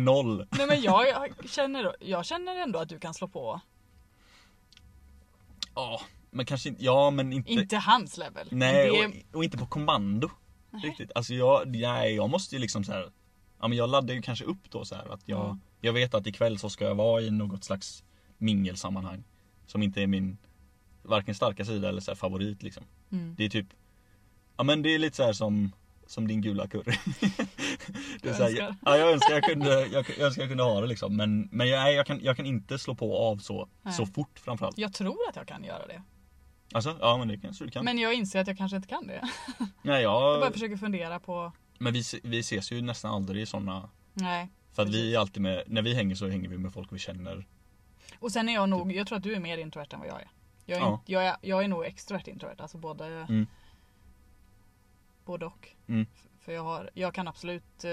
S2: 0
S1: Nej men jag, jag, känner, jag känner ändå att du kan slå på.
S2: Ja men kanske inte, ja men inte
S1: Inte hans level. men
S2: Nej
S1: det,
S2: och, och inte på kommando Riktigt, alltså jag, nej jag måste ju liksom så här. Ja men jag laddar ju kanske upp då så här att jag
S1: Mm.
S2: Jag vet att ikväll så ska jag vara i något slags mingelsammanhang Som inte är min Varken starka sida eller så här favorit liksom
S1: mm.
S2: Det är typ Ja men det är lite så här som Som din gula curry det är
S1: Du
S2: så här,
S1: önskar.
S2: Ja jag önskar jag kunde, jag, jag önskar jag kunde ha det liksom men, men jag, nej, jag, kan, jag kan inte slå på och av så,
S1: Nej.
S2: så fort framförallt
S1: Jag tror att jag kan göra det.
S2: Alltså ja men det kanske du kan
S1: Men jag inser att jag kanske inte kan det.
S2: Nej
S1: Jag bara
S2: jag,
S1: försöker fundera på...
S2: men vi, se- vi ses ju nästan aldrig i sådana
S1: Nej.
S2: För att vi är alltid med, när vi hänger så hänger vi med folk vi känner
S1: Och sen är jag nog, jag tror att du är mer introvert än vad jag är. Jag är,
S2: Ja.
S1: inte, jag är, jag är nog extrovert introvert, alltså både,
S2: Mm.
S1: både och.
S2: Mm.
S1: F- För jag, har, jag kan absolut, eh,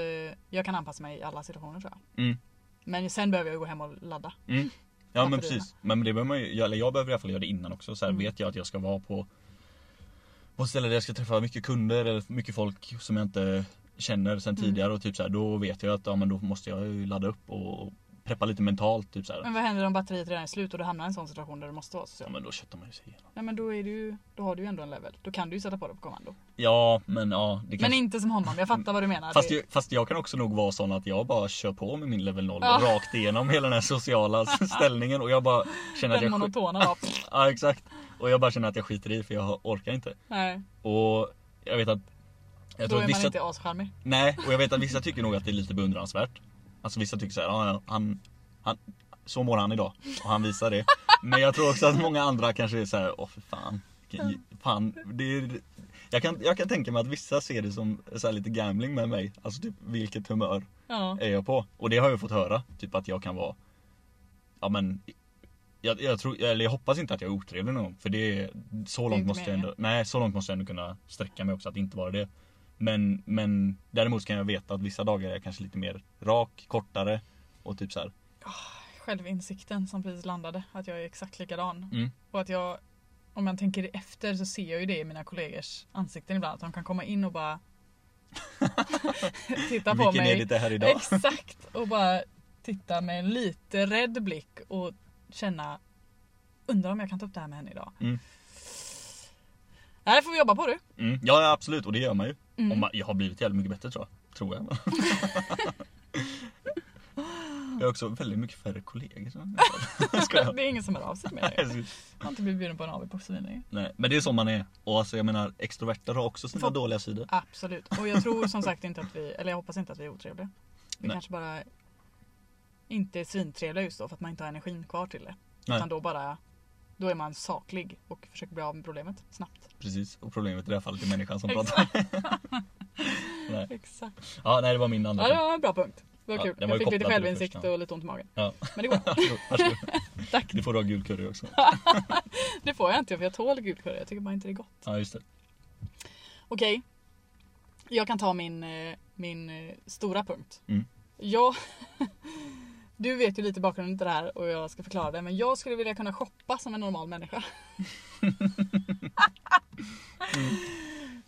S1: jag kan anpassa mig i alla situationer tror jag.
S2: Mm.
S1: Men sen behöver jag ju gå hem och ladda.
S2: Ja men
S1: Batterierna.
S2: precis, men det behöver man ju, jag, eller jag behöver i alla fall göra det innan också så här,
S1: Mm.
S2: vet jag att jag ska vara på På ett ställe där jag ska träffa mycket kunder eller mycket folk som jag inte känner sen
S1: Mm.
S2: tidigare och typ så här, då vet jag att ja, men då måste jag ju ladda upp och preppa lite mentalt typ så här.
S1: Men vad händer om batteriet redan är slut och du hamnar i en sån situation där du måste vara social?
S2: Ja men då köttar man ju sig igenom.
S1: Nej men då, är du, ju- då har du ju ändå en level. Då kan du ju sätta på det på kommando.
S2: Ja men ja, det
S1: Men
S2: kanske...
S1: inte som honom, jag fattar vad du menar.
S2: Fast,
S1: Det-
S2: ju, fast jag kan också nog vara sån att jag bara kör på med min level 0
S1: Ja.
S2: rakt igenom hela den här sociala ställningen och jag bara känner att
S1: den
S2: jag skit-
S1: monotona då.
S2: Ja exakt. Och jag bara känner att jag skiter i för jag orkar inte.
S1: Nej,
S2: Och jag vet att jag
S1: då
S2: tror
S1: är
S2: att
S1: man
S2: vissa,
S1: inte ascharmig.
S2: nej, och jag vet att vissa tycker nog att det är lite beundransvärt. Alltså vissa tycker så här, "Ja, ja, han, han, så mår han idag och han visar det. Men jag tror också att många andra kanske är så här, åh för fan. vilken- fan det är, jag, kan, jag kan tänka mig att vissa ser det som så här lite gambling med mig. Alltså typ vilket humör
S1: Ja.
S2: är jag på. Och det har jag fått höra, typ att jag kan vara Ja men jag, jag, tror, eller jag hoppas inte att jag är otrevlig någon gång för det så
S1: är
S2: långt
S1: inte
S2: måste jag
S1: meningen.
S2: ändå, nej så långt måste jag ändå kunna sträcka mig också att inte vara det. Men, men däremot kan jag veta att vissa dagar är jag kanske lite mer rak, kortare och typ så här.
S1: Självinsikten som precis landade, att jag är exakt likadan.
S2: Mm.
S1: Och att jag, om man tänker efter så ser jag ju det i mina kollegors ansikten ibland. Att de kan komma in och bara titta på
S2: Vilken är
S1: mig.
S2: det här idag?
S1: Exakt! Och bara titta med en lite rädd blick och känna Undrar om jag kan ta upp det här med henne idag.
S2: Mm.
S1: Det här får vi jobba på du.
S2: Mm. Ja ja, absolut och det gör man ju.
S1: Mm.
S2: Om man, jag har blivit jävligt mycket bättre tror jag. Tror jag. jag har också väldigt mycket färre kollegor. så- Skojar.
S1: Det är ingen som hör av sig till mig.
S2: Nej,
S1: Jag har inte blivit bjuden på en AW på så länge.
S2: Nej, men det är så man är. Och alltså jag menar extroverter har också sina
S1: Fan.
S2: dåliga sidor.
S1: Absolut. Och jag tror som sagt inte att vi, eller jag hoppas inte att vi är otrevliga. Vi
S2: Nej.
S1: kanske bara inte är svintrevliga just då för att man inte har energin kvar till det.
S2: Nej.
S1: Utan då bara, då är man saklig och försöker bli av med problemet snabbt.
S2: Precis, och problemet i det här fallet är människan som
S1: Exakt.
S2: pratar. Nej.
S1: Exakt.
S2: Ja, nej det var min andra.
S1: Ja det var en bra punkt. Det var
S2: Ja,
S1: kul.
S2: den var
S1: jag
S2: ju
S1: fick lite
S2: kopplad till det
S1: självinsikt
S2: första.
S1: och lite ont i magen.
S2: Ja.
S1: Men det går bra.
S2: Varsågod, varsågod.
S1: Tack.
S2: Du får ha gul curry också.
S1: Det får jag inte för jag tål gul curry. Jag tycker bara inte det är gott.
S2: Ja just det.
S1: Okej. Jag kan ta min, eh, min eh, stora punkt.
S2: Mm.
S1: Jag... Du vet ju lite bakgrunden till det här och jag ska förklara det men jag skulle vilja kunna shoppa som en normal människa.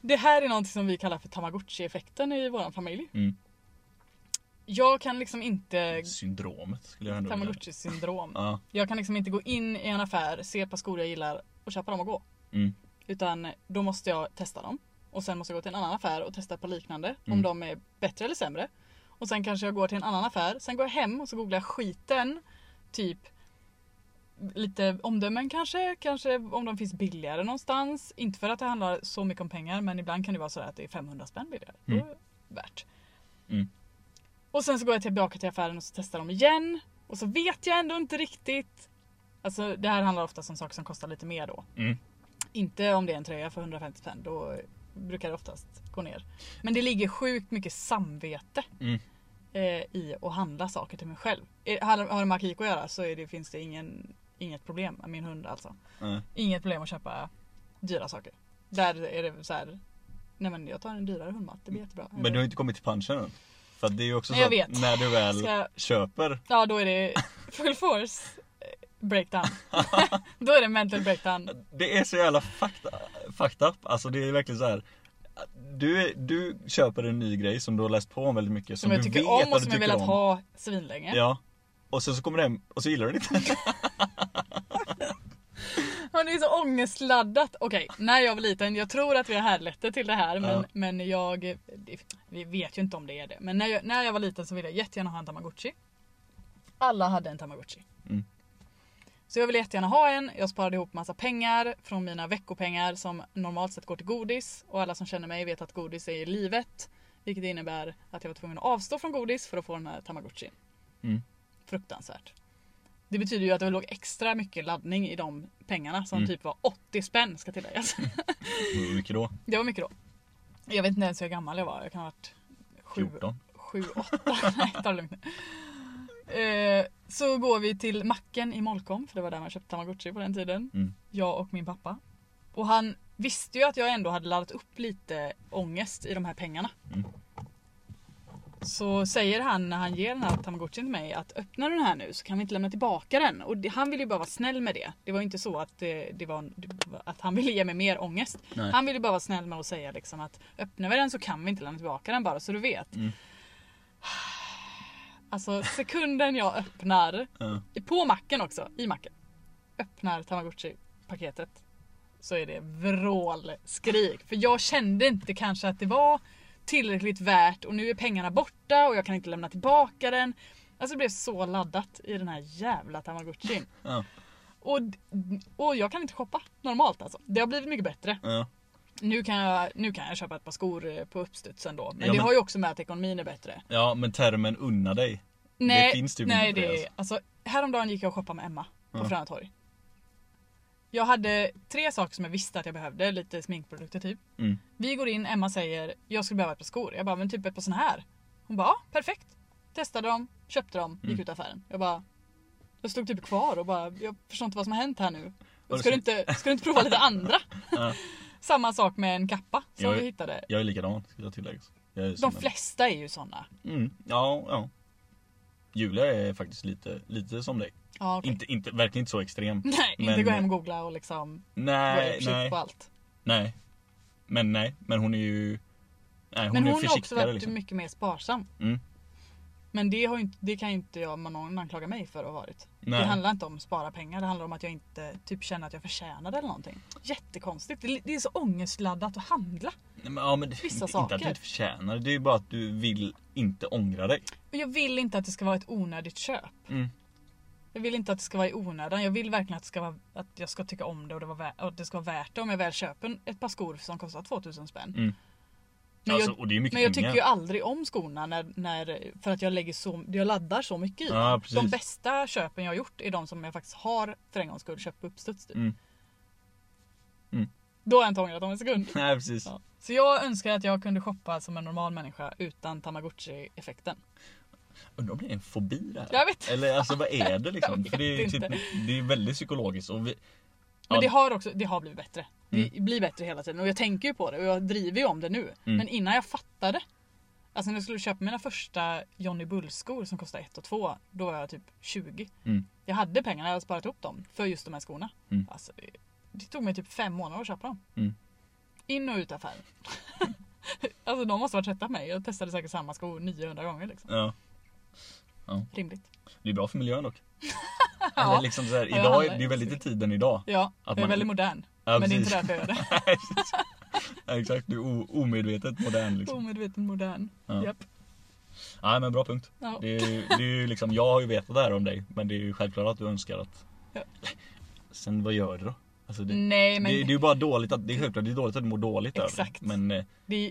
S1: Det här är något som vi kallar för tamagotchi-effekten i vår familj.
S2: Mm.
S1: Jag kan liksom inte...
S2: Syndromet skulle jag ändå vilja.
S1: Tamagotchi-syndrom.
S2: Ja,
S1: Jag kan liksom inte gå in i en affär, se ett par skor jag gillar och köpa dem och gå.
S2: mm,
S1: Utan då måste jag testa dem. Och sen måste jag gå till en annan affär och testa ett par liknande. Om
S2: Mm.
S1: de är bättre eller sämre. Och sen kanske jag går till en annan affär. Sen går jag hem och så googlar jag skiten. Typ lite omdömen kanske, kanske om de finns billigare någonstans. Inte för att det handlar så mycket om pengar men ibland kan det vara så att det är 500 spänn billigare.
S2: Mm.
S1: Då är det värt.
S2: Mm.
S1: Och sen så går jag tillbaka till affären och så testar de igen. Och så vet jag ändå inte riktigt. Alltså det här handlar ofta om saker som kostar lite mer då.
S2: Mm.
S1: Inte om det är en tröja för 150 spänn, då brukar det oftast gå ner. Men det ligger sjukt mycket samvete
S2: Mm.
S1: eh, i att handla saker till mig själv. Eh, Har har det med Akiko att göra så är det, finns det ingen, inget problem med min hund alltså.
S2: Nej.
S1: Inget problem att köpa dyra saker. Där är det så här. Nej men jag tar en dyrare hundmat, det blir jättebra.
S2: Men du har inte kommit till punchen än. För att det är ju också
S1: Nej,
S2: så
S1: jag
S2: att
S1: vet.
S2: när du väl
S1: Ska jag-
S2: köper.
S1: Ja då är det full force eh, breakdown. då är det mental breakdown.
S2: Det är så jävla fakta, fucked up. Alltså det är verkligen så här. Du, är- du köper en ny grej som du har läst på om väldigt mycket.
S1: Som, jag
S2: du
S1: tycker
S2: vet
S1: om och
S2: att du
S1: som jag
S2: tycker
S1: velat
S2: om.
S1: ha svinlänge.
S2: Ja. Och sen så kommer du hem och så gillar du det inte.
S1: Ja, det är så ångestladdat. Okej, när jag var liten, jag tror att vi har härlett till det här men,
S2: Ja.
S1: men jag... det- Vi vet ju inte om det är det. Men när jag, när jag var liten så ville jag jättegärna ha en tamagotchi. Alla hade en tamagotchi.
S2: Mm.
S1: Så jag ville jättegärna ha en. Jag sparade ihop massa pengar från mina veckopengar som normalt sett går till godis. Och alla som känner mig vet att godis är livet. Vilket innebär att jag var tvungen att avstå från godis för att få den här tamagotchin.
S2: Mm.
S1: Fruktansvärt. Det betyder ju att det låg extra mycket laddning i de pengarna som
S2: Mm.
S1: typ var 80 spänn ska tilläggas.
S2: Hur mycket då?
S1: Det var mycket då. Jag vet inte ens hur gammal jag var. Jag kan ha varit 7,
S2: 14?
S1: 7 8. Nej, ta det lugnt nu. Eh, Så går vi till macken i Molkom, för det var där man köpte Tamagotchi på den tiden.
S2: Mm.
S1: Jag och min pappa. Och han visste ju att jag ändå hade laddat upp lite ångest i de här pengarna.
S2: Mm.
S1: Så säger han när han ger den här Tamagotchin till mig att öppna den här nu så kan vi inte lämna tillbaka den. Och det, han ville ju bara vara snäll med det. Det var ju inte så att, det, det var, att han ville ge mig mer ångest.
S2: Nej.
S1: Han ville bara vara snäll med att säga liksom att öppnar vi den så kan vi inte lämna tillbaka den bara så du vet.
S2: Mm.
S1: Alltså sekunden jag öppnar,
S2: Ja.
S1: på macken också, i macken, öppnar Tamagotchi-paketet så är det vrålskrik. För jag kände inte kanske att det var tillräckligt värt och nu är pengarna borta och jag kan inte lämna tillbaka den. Alltså det blev så laddat i den här jävla Tamagotchin.
S2: Ja.
S1: Och, och jag kan inte shoppa normalt alltså. Det har blivit mycket bättre.
S2: Ja.
S1: Nu kan, jag, nu kan jag köpa ett par skor eh, på uppstudsen då. Men
S2: Ja,
S1: det
S2: men-
S1: har ju också med att ekonomin är bättre.
S2: ja men termen unna dig.
S1: Nej,
S2: finns typ
S1: nej,
S2: inte på det,
S1: det är, alltså, Häromdagen gick jag och shoppade med Emma på
S2: Ja.
S1: Fröna torg. Jag hade tre saker som jag visste att jag behövde, lite sminkprodukter typ.
S2: Mm.
S1: Vi går in, Emma säger jag skulle behöva ett par skor. Jag bara, men typ ett par såna här. Hon bara, ja, perfekt. Testade dem, köpte dem, gick
S2: Mm.
S1: ut affären. Jag bara, jag stod typ kvar och bara, jag förstår inte vad som har hänt här nu.
S2: Och
S1: Ska
S2: så-
S1: du inte, ska du inte prova lite andra?
S2: Ja.
S1: Samma sak med en kappa som
S2: Jag-
S1: vi hittade.
S2: Jag är likadan skulle jag tillägga. Jag är
S1: De
S2: som en-
S1: flesta är ju såna.
S2: Mm, ja, ja. Julia är faktiskt lite, lite som dig.
S1: Ja, okej. Mm.
S2: Inte, inte, verkligen inte så extrem.
S1: Nej, inte
S2: Men-
S1: gå hem och googla och liksom vara
S2: Nej,
S1: försiktig
S2: nej,
S1: på allt.
S2: nej. Men nej, men hon är ju... Nej, hon
S1: Men
S2: är
S1: hon, har också
S2: försiktigare
S1: varit
S2: liksom.
S1: mycket mer sparsam.
S2: Mm.
S1: Men det, har ju inte, det kan ju inte jag, man- någon anklaga mig för att ha varit. Det
S2: Nej.
S1: handlar inte om att spara pengar, det handlar om att jag inte typ känner att jag förtjänar det eller någonting. Jättekonstigt, det, det är så ångestladdat att handla.
S2: Nej, men, ja, men, det-
S1: vissa
S2: inte,
S1: saker.
S2: Inte att du inte förtjänar det, det är ju bara att du vill inte ångra dig.
S1: Och jag vill inte att det ska vara ett onödigt köp.
S2: Mm.
S1: Jag vill inte att det ska vara i onödan. Jag vill verkligen att, det ska vara, att jag ska tycka om det och, det var vä- och att det ska vara värt det om jag väl köper ett par skor som kostar 2000 spänn.
S2: Mm.
S1: Men
S2: alltså,
S1: jag,
S2: och det är ju mycket
S1: men jag
S2: pengar.
S1: tycker ju aldrig om skorna när, när, för att jag, lägger så, jag laddar så mycket i
S2: Ja,
S1: dem.
S2: precis.
S1: De bästa köpen jag har gjort är de som jag faktiskt har för en gångs skull köpt på uppstuds. Typ.
S2: Mm. Mm.
S1: Då har jag inte ångrat om en sekund.
S2: Nej precis.
S1: Ja. Så jag önskar att jag kunde shoppa som en normal människa utan Tamagotchi-effekten.
S2: Undrar om det är en fobi det här?
S1: Jag vet
S2: Eller alltså vad är det liksom?
S1: Jag
S2: För det är ju
S1: vet
S2: typ,
S1: inte.
S2: det är väldigt psykologiskt. Och vi,
S1: Men
S2: Ja. Mm.
S1: det har också det har blivit bättre. Det blir bättre hela tiden och jag tänker ju på det och jag driver ju om det nu. Men innan jag fattade. Alltså när jag skulle köpa mina första Johnny Bull-skor som kostade 1 och 2, då var jag typ 20.
S2: Mm.
S1: Jag hade pengarna, jag hade sparat ihop dem för just de här skorna.
S2: Mm.
S1: Alltså, det, det tog mig typ fem månader att köpa dem.
S2: Mm.
S1: In och ut affären. alltså de måste ha varit trötta på mig. Jag testade säkert samma skor 900 gånger. Liksom.
S2: ja,
S1: Rimligt.
S2: det är bra för miljön dock.
S1: Ja.
S2: Eller liksom så här,
S1: Ja,
S2: idag,
S1: alla-
S2: är- det är väldigt i tiden idag.
S1: Ja, jag är
S2: man-
S1: väldigt modern.
S2: Ja,
S1: men det är inte
S2: precis.
S1: därför jag gör det.
S2: Ja, exakt, du är o- omedvetet modern liksom.
S1: Omedvetet modern.
S2: Ja.
S1: Japp.
S2: Nej men bra punkt.
S1: Ja.
S2: Det är, ju- det är ju liksom, jag har ju vetat det här om dig men det är ju självklart att du önskar att
S1: Ja.
S2: Sen vad gör du då? Alltså det,
S1: Nej men
S2: det, det är
S1: det,
S2: ju bara dåligt att, det är självklart det är dåligt att du mår dåligt
S1: Exakt.
S2: över det. Men eh,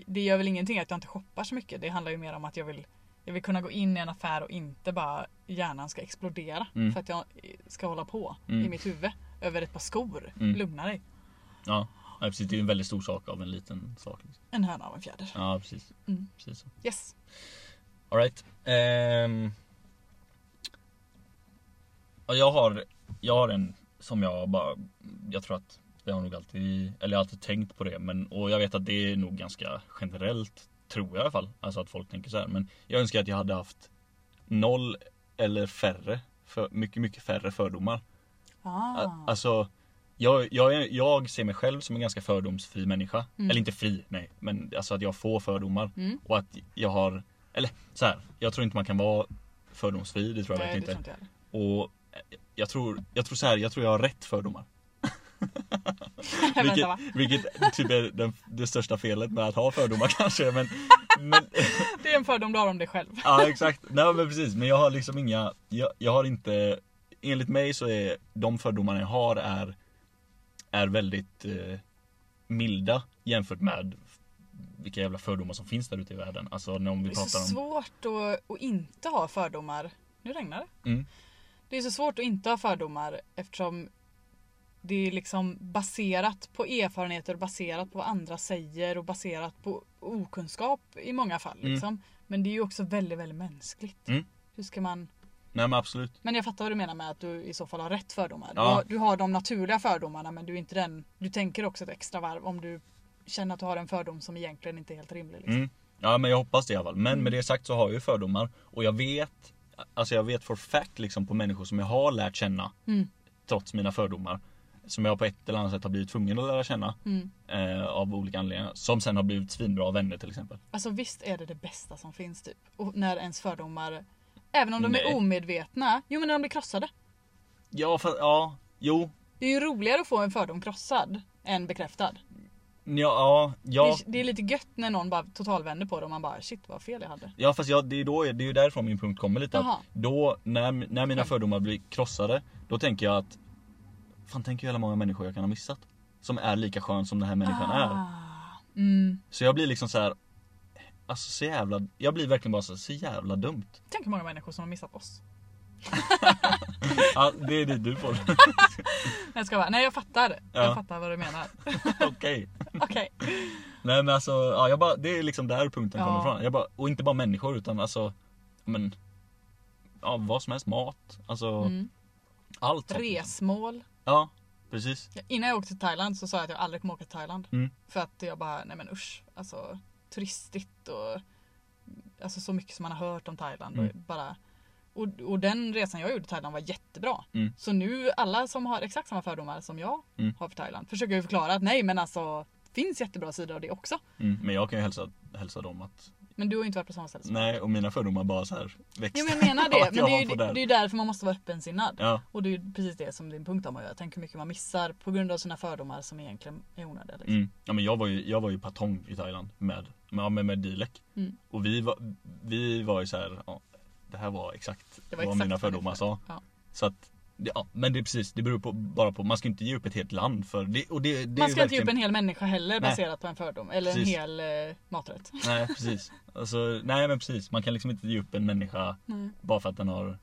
S1: det, gör väl ingenting att jag inte shoppar så mycket. Det handlar ju mer om att jag vill, jag vill kunna gå in i en affär och inte bara hjärnan ska explodera
S2: Mm.
S1: för att jag ska hålla på i
S2: Mm.
S1: mitt huvud över ett par skor.
S2: Mm.
S1: Lugna dig.
S2: ja, ja precis, det är ju en väldigt stor sak av en liten sak. Liksom.
S1: En höna av en fjäder.
S2: Ja precis.
S1: Mm.
S2: precis så.
S1: Yes.
S2: All right. Ehm. Ja, jag, har, jag har en som jag bara, jag tror att jag har nog alltid, eller jag har alltid tänkt på det men och jag vet att det är nog ganska generellt tror jag i alla fall. Alltså att folk tänker så här. Men jag önskar att jag hade haft noll eller färre, för, mycket, mycket färre fördomar.
S1: Ah.
S2: A- Alltså, jag, jag, är- jag ser mig själv som en ganska fördomsfri människa.
S1: Mm.
S2: Eller inte fri, nej. Men alltså att jag får fördomar.
S1: Mm.
S2: Och att jag har, eller så här, jag tror inte man kan vara fördomsfri, det tror jag
S1: Nej, det
S2: verkligen
S1: tror
S2: inte.
S1: inte jag heller.
S2: Och eh, jag tror, jag tror så här, jag tror jag har rätt fördomar.
S1: Vänta,
S2: Vilket,
S1: va?
S2: vilket typ är den, det största felet med att ha fördomar kanske. Men, men,
S1: Det är en fördom du har om dig själv.
S2: ja exakt, nej men precis. Men jag har liksom inga, jag, jag har inte, enligt mig så är de fördomarna jag har är, är väldigt eh, milda jämfört med vilka jävla fördomar som finns där ute i världen. Alltså när om vi
S1: Det är så
S2: pratar om...
S1: svårt att, att inte ha fördomar. Nu regnar det.
S2: Mm.
S1: Det är så svårt att inte ha fördomar eftersom det är liksom baserat på erfarenheter, baserat på vad andra säger och baserat på okunskap i många fall.
S2: Mm.
S1: Liksom. Men det är ju också väldigt, väldigt mänskligt.
S2: Mm.
S1: Hur ska man...
S2: Nej men absolut.
S1: Men jag fattar vad du menar med att du i så fall har rätt fördomar.
S2: Ja.
S1: Du, har, du har de naturliga fördomarna men du är inte den... Du tänker också ett extra varv om du känner att du har en fördom som egentligen inte är helt rimlig. Liksom.
S2: Mm. Ja men jag hoppas det i alla fall.
S1: Mm.
S2: Men med det sagt så har jag ju fördomar och jag vet, alltså jag vet for fact liksom på människor som jag har lärt känna
S1: Mm.
S2: trots mina fördomar. Som jag på ett eller annat sätt har blivit tvungen att lära känna
S1: Mm.
S2: eh, av olika anledningar. Som sen har blivit svinbra vänner till exempel.
S1: Alltså visst är det det bästa som finns typ. Och när ens fördomar, även om de
S2: Nej.
S1: är omedvetna, jo men när de blir krossade.
S2: Ja, för, ja, jo,
S1: Det är ju roligare att få en fördom krossad än bekräftad.
S2: ja, ja, ja,
S1: Det, det är lite gött när någon bara totalvänder på det och man bara shit vad fel jag hade.
S2: ja fast jag, det, är då, det är ju därifrån min punkt kommer lite.
S1: Jaha.
S2: Att då när, när mina
S1: Skönt.
S2: fördomar blir krossade, då tänker jag att fan tänk hur jävla många människor jag kan ha missat. Som är lika skön som den här människan
S1: Ah.
S2: är.
S1: Mm.
S2: Så jag blir liksom så här. Alltså så jävla, jag blir verkligen bara så, så jävla dumt.
S1: Tänk hur många människor som har missat oss.
S2: Ja, det är det du får.
S1: Nej, Jag ska bara, nej jag fattar.
S2: Ja.
S1: Jag fattar vad du menar.
S2: Okej.
S1: Okej.
S2: Nej men alltså, ja, jag bara, det är liksom där punkten
S1: Ja.
S2: kommer ifrån. Jag bara, och inte bara människor utan alltså, men, ja, vad som helst, mat, alltså
S1: Mm.
S2: allt. sånt, liksom.
S1: Resmål.
S2: Ja, precis.
S1: Innan jag åkte till Thailand så sa jag att jag aldrig kommer åka till Thailand.
S2: Mm.
S1: För att jag bara, nej men usch. Alltså turistigt och alltså, så mycket som man har hört om Thailand. Och,
S2: Mm.
S1: bara, och, och den resan jag gjorde till Thailand var jättebra.
S2: Mm.
S1: Så nu alla som har exakt samma fördomar som jag
S2: Mm.
S1: har för Thailand försöker ju förklara att nej men alltså det finns jättebra sidor av det också.
S2: Mm, men jag kan ju hälsa, hälsa dem att,
S1: Men du har ju inte varit på samma ställe som
S2: nej och mina fördomar bara så här
S1: Jo
S2: växte.
S1: men jag menar
S2: Ja,
S1: det.
S2: att
S1: Men
S2: jag
S1: det är,
S2: var
S1: ju,
S2: på
S1: det
S2: den.
S1: är ju därför man måste vara öppensinnad.
S2: Ja,
S1: Och det är ju precis det som din punkt om att göra. Tänk hur mycket man missar på grund av sina fördomar som egentligen är onödiga. Liksom.
S2: mm. ja men jag var ju, jag var ju patong i Thailand med, med, ja, med, med Dilek.
S1: Mm.
S2: Och vi var, vi var ju så här, ja, det här var exakt
S1: Det var
S2: vad
S1: exakt
S2: mina
S1: vad
S2: fördomar
S1: det-
S2: sa.
S1: ja.
S2: Så att, det- ja, men det är precis, det beror på, bara på, man ska inte ge upp ett helt land för det, och det, det är
S1: Man
S2: ju
S1: ska inte ge
S2: verkligen-
S1: upp en hel människa heller
S2: Nej.
S1: baserat på en fördom. Eller
S2: Precis.
S1: en hel eh, maträtt.
S2: Nej precis. Alltså, nej men precis, man kan liksom inte ge upp en människa bara för att den har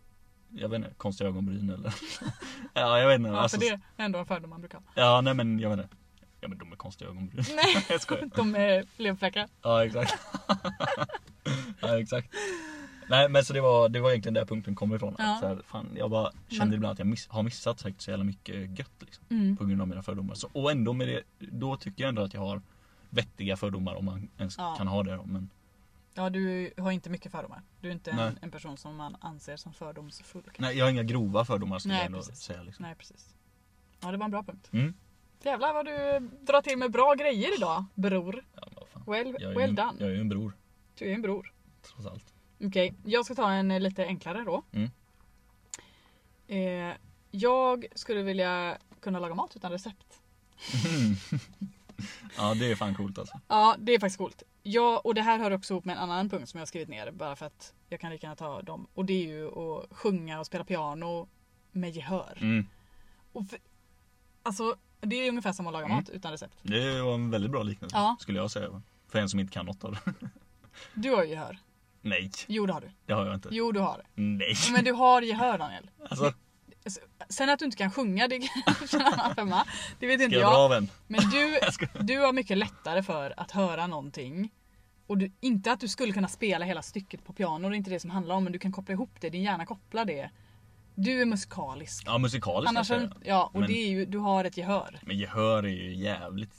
S2: jag vet inte, konstiga ögonbryn eller Ja jag vet inte.
S1: Ja,
S2: alltså,
S1: för det är ändå en fördom man brukar ha.
S2: ja nej men jag vet inte. Ja men de är konstiga ögonbryn.
S1: Nej,
S2: jag skojar.
S1: de är leverfläckar.
S2: Ja exakt. ja exakt. Nej men så det var, det var egentligen där punkten kom ifrån.
S1: Ja.
S2: Så här, fan, jag bara kände
S1: Men-
S2: ibland att jag miss, har missat säkert så jävla mycket gött liksom,
S1: Mm.
S2: på grund av mina fördomar. Så, och ändå med det, då tycker jag ändå att jag har vettiga fördomar om man ens
S1: Ja.
S2: kan ha det. då, Men
S1: Ja, du har inte mycket fördomar. Du är inte
S2: Nej.
S1: en, en person som man anser som fördomsfull. kanske.
S2: Nej jag har inga grova fördomar skulle
S1: Nej,
S2: jag ändå
S1: precis.
S2: säga. Liksom.
S1: Nej, precis. Ja, det var en bra punkt.
S2: Mm.
S1: Mm. Jävlar vad du drar till med bra grejer idag, bror.
S2: Ja, men vad fan.
S1: Well,
S2: Jag är, ju,
S1: well
S2: en-
S1: done.
S2: jag är ju en bror
S1: Du är en bror.
S2: trots allt.
S1: Okej, jag ska ta en eh, lite enklare då.
S2: Mm.
S1: Eh, jag skulle vilja kunna laga mat utan recept.
S2: Ja det är fan coolt alltså.
S1: Ja, det är faktiskt coolt. Ja, och det här hör också ihop med en annan punkt som jag har skrivit ner bara för att jag kan lika gärna ta dem. Och det är ju att sjunga och spela piano med gehör.
S2: Mm.
S1: Och för, alltså, det är ungefär som att laga mat utan recept.
S2: Det var en väldigt bra liknelse
S1: Ja.
S2: skulle jag säga. För en som inte kan något av det.
S1: Du har ju gehör.
S2: Nej,
S1: Jo, det har du.
S2: det har jag inte.
S1: Jo, du har det.
S2: Nej.
S1: Men du har gehör, Daniel.
S2: Alltså,
S1: Sen att du inte kan sjunga, det kan en annan femma. Det vet
S2: ska
S1: inte
S2: jag dra
S1: jag.
S2: av en?
S1: Men du,
S2: Jag ska...
S1: du har mycket lättare för att höra någonting. Och du, inte att du skulle kunna spela hela stycket på piano, det är inte det som handlar om. Men du kan koppla ihop det, din hjärna kopplar det. Du är musikalisk.
S2: Ja, musikaliskt
S1: Annars
S2: kanske.
S1: har du, ja, och
S2: Men-
S1: det är ju, du har ett gehör.
S2: Men gehör är ju jävligt.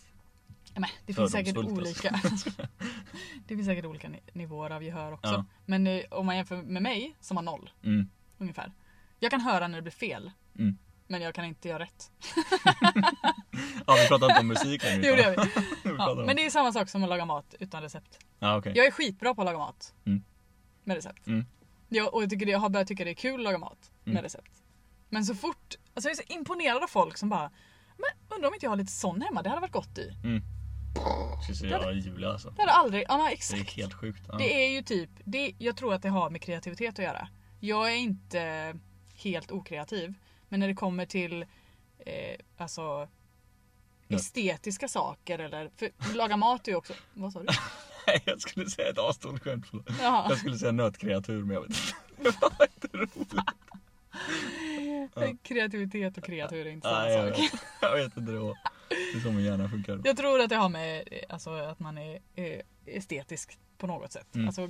S1: Ja, Men det finns säkert
S2: Fördomsfullt, alltså.
S1: olika. det finns säkert olika ni- nivåer av gehör också.
S2: Ja.
S1: Men eh, om man jämför med mig som har noll
S2: Mm.
S1: ungefär. Jag kan höra när det blir fel.
S2: Mm.
S1: Men jag kan inte göra rätt.
S2: Ja, vi pratar inte om musik längre.
S1: Det gjorde jag.
S2: vi pratar
S1: Ja,
S2: om-
S1: men det är samma sak som att laga mat utan recept.
S2: Ja, okej.
S1: Jag är skitbra på att laga mat.
S2: Mm.
S1: Med recept.
S2: Mm.
S1: Jag, och jag, tycker det, jag har börjat tycka det är kul att laga mat
S2: Mm.
S1: med recept. Men så fort, alltså jag är så imponerad av folk som bara men undrar om inte jag har lite sån hemma, det hade varit gott i.
S2: Ska se, jag är Julia alltså.
S1: Det hade aldrig, ja men
S2: Det är
S1: exakt.
S2: helt sjukt. Ja.
S1: Det är ju typ, det, jag tror att det har med kreativitet att göra. Jag är inte helt okreativ. Men när det kommer till eh, alltså
S2: Nej.
S1: estetiska saker eller... För laga mat är ju också... Vad sa du?
S2: Nej, jag skulle säga ett asdåligt skämt. förlåt.
S1: Jaha.
S2: Jag skulle säga nötkreatur men jag vet inte. Det var inte roligt. Ja.
S1: Kreativitet och kreatur är inte samma
S2: Nej, jag,
S1: sak.
S2: vet, jag vet inte det var. Det är så min hjärna funkar.
S1: Jag tror att det har med eh, alltså, att man är eh, estetisk på något sätt.
S2: Mm.
S1: Alltså,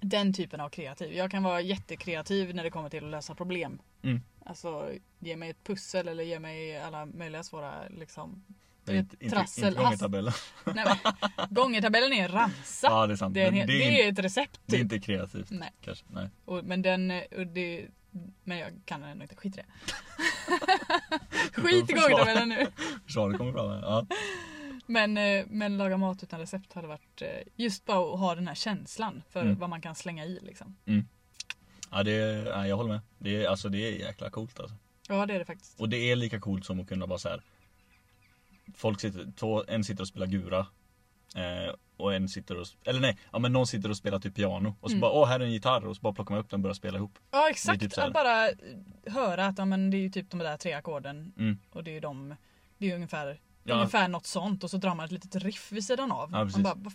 S1: den typen av kreativ. Jag kan vara jättekreativ när det kommer till att lösa problem.
S2: Mm.
S1: Alltså ge mig ett pussel eller ge mig alla möjliga svåra liksom.
S2: Det är inte, inte,
S1: trassel,
S2: inte
S1: hass-
S2: gångertabellen.
S1: Nej, men, gångertabellen är en ramsa.
S2: Ja, det är sant.
S1: det, är en, hel-
S2: Men
S1: det, är
S2: inte-
S1: ett recept
S2: det är
S1: typ.
S2: inte kreativt.
S1: Nej.
S2: Kanske. Nej.
S1: Och, men den, eh, och det, men jag kan den ändå inte. Skit i det. Skit i gångertabellen nu.
S2: Försvaret kommer fram här. Ja.
S1: Men, eh, men laga mat utan recept hade varit eh, just bara att ha den här känslan för
S2: Mm.
S1: vad man kan slänga i liksom.
S2: Ja, det, är- nej, jag håller med. Det är, alltså, det är jäkla coolt alltså.
S1: Ja det är det faktiskt.
S2: Och det är lika coolt som att kunna bara så här. Folk sitter, två, en sitter och spelar gura. Eh, och en sitter och, eller nej, ja, men någon sitter och spelar typ piano. Och så
S1: Mm.
S2: bara, åh här är en gitarr. Och så bara plockar man upp den och börjar spela ihop.
S1: Ja exakt,
S2: Det är typ så här.
S1: att bara eh, höra att ja, men det är ju typ de där tre ackorden
S2: Mm.
S1: och det är ju de, det är ju ungefär,
S2: Ja.
S1: ungefär något sånt och så drar man ett litet riff vid sidan av.
S2: Ja, precis.
S1: man bara, vad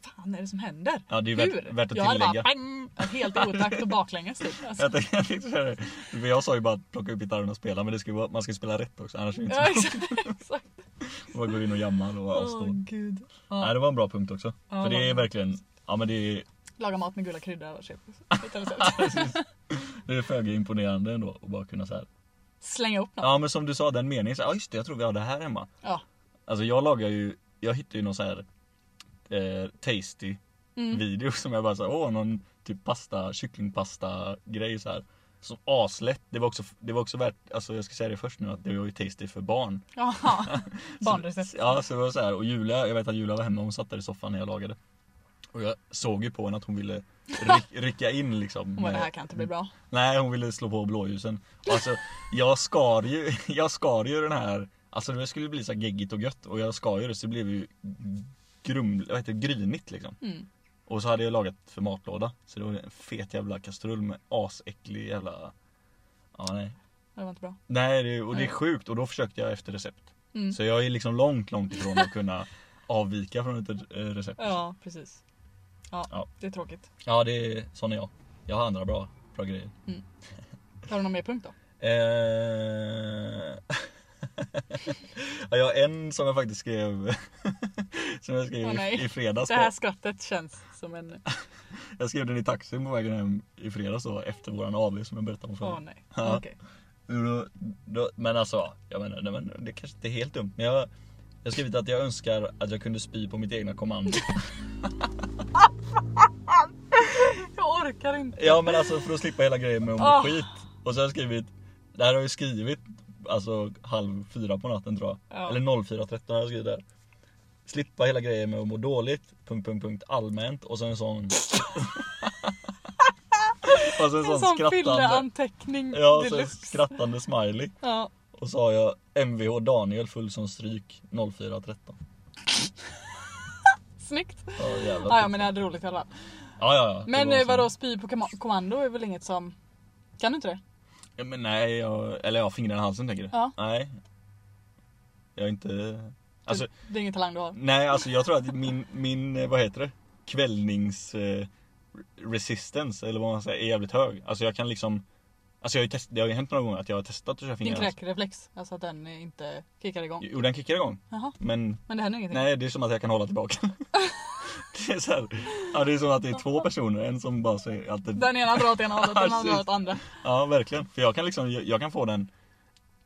S1: fan är det som händer?
S2: Ja, det är ju
S1: Hur?
S2: värt, värt att
S1: jag hade bara
S2: tillägga.
S1: pang, helt i otakt och baklänges typ. Alltså,
S2: Jag tänkte, jag tänkte säga det. För jag sa ju bara att plocka upp gitarren och spela men det ska ju vara, man ska ju spela rätt också annars är det inte
S1: ja
S2: så
S1: exakt. exakt.
S2: bra. Man går in och jammar och
S1: Åh
S2: avstår.
S1: gud.
S2: Nej det var en bra punkt också.
S1: Ja,
S2: För det är
S1: vad-
S2: verkligen, ja men det är,
S1: Laga mat med gula kryddor och se- utan recept.
S2: det är föga imponerande ändå att bara kunna så här.
S1: Slänga upp något.
S2: Ja men som du sa den meningen, så här, ja just det jag tror vi har det här hemma.
S1: Ja.
S2: Alltså jag lagar ju, jag hittar ju någon så här eh, tasty
S1: Mm.
S2: video som jag bara såhär, åh någon typ pasta, kycklingpasta grej så här. Som aslätt, det var också, det var också värt, alltså jag ska säga det först nu att det var ju tasty för barn.
S1: Jaha. Barnrecept.
S2: Så, ja, så det var så här. Och Julia, jag vet att Julia var hemma, hon satt där i soffan när jag lagade. Och jag såg ju på henne att hon ville ryck, rycka in liksom.
S1: Hon bara, det
S2: med-
S1: här kan inte bli bra.
S2: Nej, hon ville slå på blåljusen. Och Alltså, jag skar ju, jag skar ju den här, alltså det skulle bli så här geggigt och gött och jag skar ju det så det blev ju grum, vad heter det, grynigt liksom.
S1: Mm.
S2: Och så hade jag lagat för matlåda, så det var en fet jävla kastrull med asäcklig jävla, ja nej.
S1: Det var inte bra.
S2: Nej, det, och det är
S1: Nej.
S2: sjukt och då försökte jag efter recept.
S1: Mm.
S2: Så jag är liksom långt, långt ifrån att kunna avvika från ett eh, recept.
S1: Ja, precis. Ja,
S2: Ja.
S1: det är tråkigt.
S2: Ja, det är, sån är jag. Jag har andra bra, bra grejer.
S1: Har du någon mer punkt då?
S2: Eh... ja, jag har en som jag faktiskt skrev, som jag skrev
S1: Åh,
S2: i,
S1: nej.
S2: i fredags.
S1: Det här
S2: På.
S1: skrattet känns som en...
S2: Jag skrev den i taxin på vägen hem i fredags då, efter våran AV som jag berättade om förut.
S1: Åh nej.
S2: Ja.
S1: Okej.
S2: Då, då, men alltså, jag menar, nej, men det kanske inte är helt dumt. Men jag jag har skrivit att jag önskar att jag kunde spy på mitt egna kommando.
S1: Jag orkar inte.
S2: Ja men alltså för att slippa hela grejen med att må
S1: Ah.
S2: skit. Och så har jag skrivit, det här har jag skrivit alltså halv fyra på natten tror jag.
S1: Ja.
S2: Eller 04.13 har jag skrivit där. Slippa hela grejen med att må dåligt, punkt, punkt, punkt, allmänt och sen en sån... och sen en
S1: En
S2: sån,
S1: sån
S2: skrattande,
S1: fylleanteckning
S2: ja, och sen en
S1: deluxe.
S2: skrattande smiley.
S1: Ja.
S2: Och så har jag MVH Daniel full som stryk 04.13.
S1: Snyggt.
S2: Ja jävlar.
S1: Ja, ja, men jag hade roligt i alla fall.
S2: ja, ja, ja. Det
S1: Men
S2: var
S1: eh,
S2: så.
S1: vadå, spy på kom- kommando är väl inget som... Kan du inte det?
S2: Ja, men nej, jag, eller jag har fingrarna i halsen tänker du?
S1: Ja.
S2: Nej. Jag är inte... Alltså,
S1: Typ, det, det är ingen talang du har.
S2: nej alltså jag tror att min, min eh, vad heter det? Kvällnings... Eh, resistance, eller vad man säger, är jävligt hög. Alltså jag kan liksom... Alltså jag har ju test, det har ju hänt några gånger att jag har testat att köra
S1: Din
S2: fingrarna. i halsen.
S1: kräkreflex, alltså att den är inte kickar igång.
S2: Jo den kickar igång.
S1: Jaha,
S2: Men
S1: men det händer ingenting.
S2: nej, det är som att jag kan hålla tillbaka. det är så här, ja det är som att det är två personer, en som bara säger alltid...
S1: Den ena drar åt ena hållet, den andra
S2: Precis.
S1: drar åt andra.
S2: Ja, verkligen. För jag kan liksom, jag, jag kan få den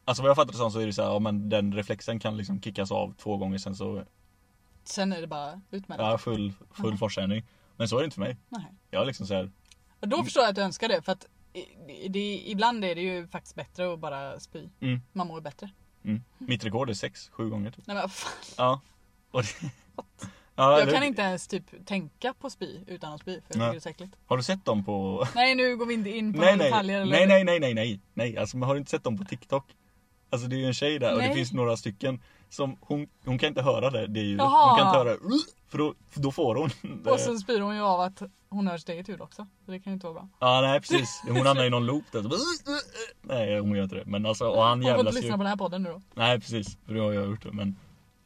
S2: Alltså vad jag fattar det som så är det så här, ja men den reflexen kan liksom kickas av två gånger sen så,
S1: Sen är det bara ut med det.
S2: ja full, full
S1: Ja.
S2: forsändning. Men så är det inte för mig.
S1: Nej.
S2: Jag är liksom så här,
S1: Och Då förstår jag att du önskar det för att i- det, ibland är det ju faktiskt bättre att bara spy.
S2: Mm.
S1: Man mår bättre.
S2: mm. mitt rekord är sex, sju gånger typ.
S1: Nej, men, vad fan.
S2: Ja. Och det, ja
S1: jag
S2: eller-
S1: kan inte ens typ tänka på spy utan att spy för jag
S2: Nej.
S1: tycker det är så äckligt.
S2: Har du sett dem på...
S1: Nej nu går vi inte in på
S2: Nej
S1: några
S2: nej.
S1: detaljer eller
S2: nej nej nej nej nej nej alltså men har du inte sett dem på TikTok? Alltså det är ju en tjej där och det
S1: Nej.
S2: finns några stycken som hon, hon kan inte höra det, det är ju, hon
S1: Jaha.
S2: kan inte höra för då, för då får hon det.
S1: Och sen spyr hon ju av att hon hör sitt eget ljud också. Så det kan ju inte vara bra.
S2: Ja nej precis, hon hamnar i någon loop där. Så... Nej hon gör inte det. Men alltså och han
S1: Hon får inte
S2: jävlas
S1: lyssna
S2: ju.
S1: på den här podden nu då.
S2: Nej precis, för det har jag gjort det. Men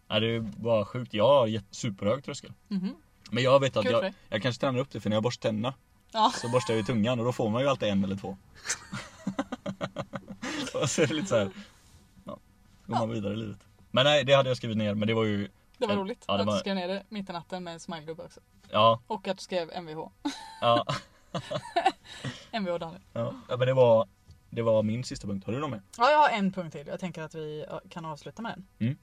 S2: nej, det är bara sjukt. Jag har jätte- superhög tröskel.
S1: Mhm.
S2: Men jag vet att
S1: Kul för
S2: jag,
S1: dig.
S2: jag kanske tränar upp det för när jag borstar tänderna
S1: Ja.
S2: så borstar jag ju tungan och då får man ju alltid en eller två. och så är det lite så här. Ja, går man vidare i livet. Men nej det hade jag skrivit ner men det var ju
S1: Det var
S2: Ja,
S1: roligt
S2: det
S1: att
S2: var-
S1: du skrev ner det mitt i natten med en smilegubbe också.
S2: Ja,
S1: Och att du skrev MVH.
S2: ja,
S1: MVH Daniel.
S2: ja. ja men det var, det var min sista punkt. Har du någon mer?
S1: Ja, jag har en punkt till. Jag tänker att vi ja, kan avsluta med den.
S2: Mm.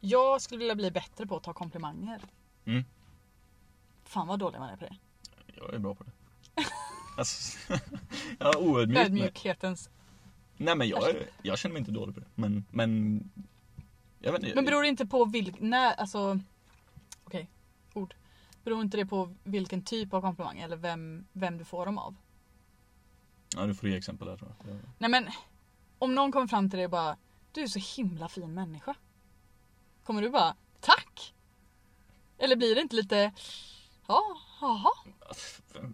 S1: Jag skulle vilja bli bättre på att ta komplimanger.
S2: Mm.
S1: Fan vad dålig man är på det.
S2: Jag är bra på det. Alltså, jag är oödmjuk. men-
S1: Ödmjukhetens.
S2: Nej men jag, är, jag känner mig inte dålig på det. Men, men... Jag vet inte.
S1: Men beror det inte på vilken, när, alltså. Okej, ord. Beror inte det på vilken typ av komplimang eller vem, vem du får dem av?
S2: Ja, du får ge exempel där tror jag.
S1: Nej men, om någon kommer fram till dig och bara Du är så himla fin människa. Kommer du bara Tack! Eller blir det inte lite Ja, jaha.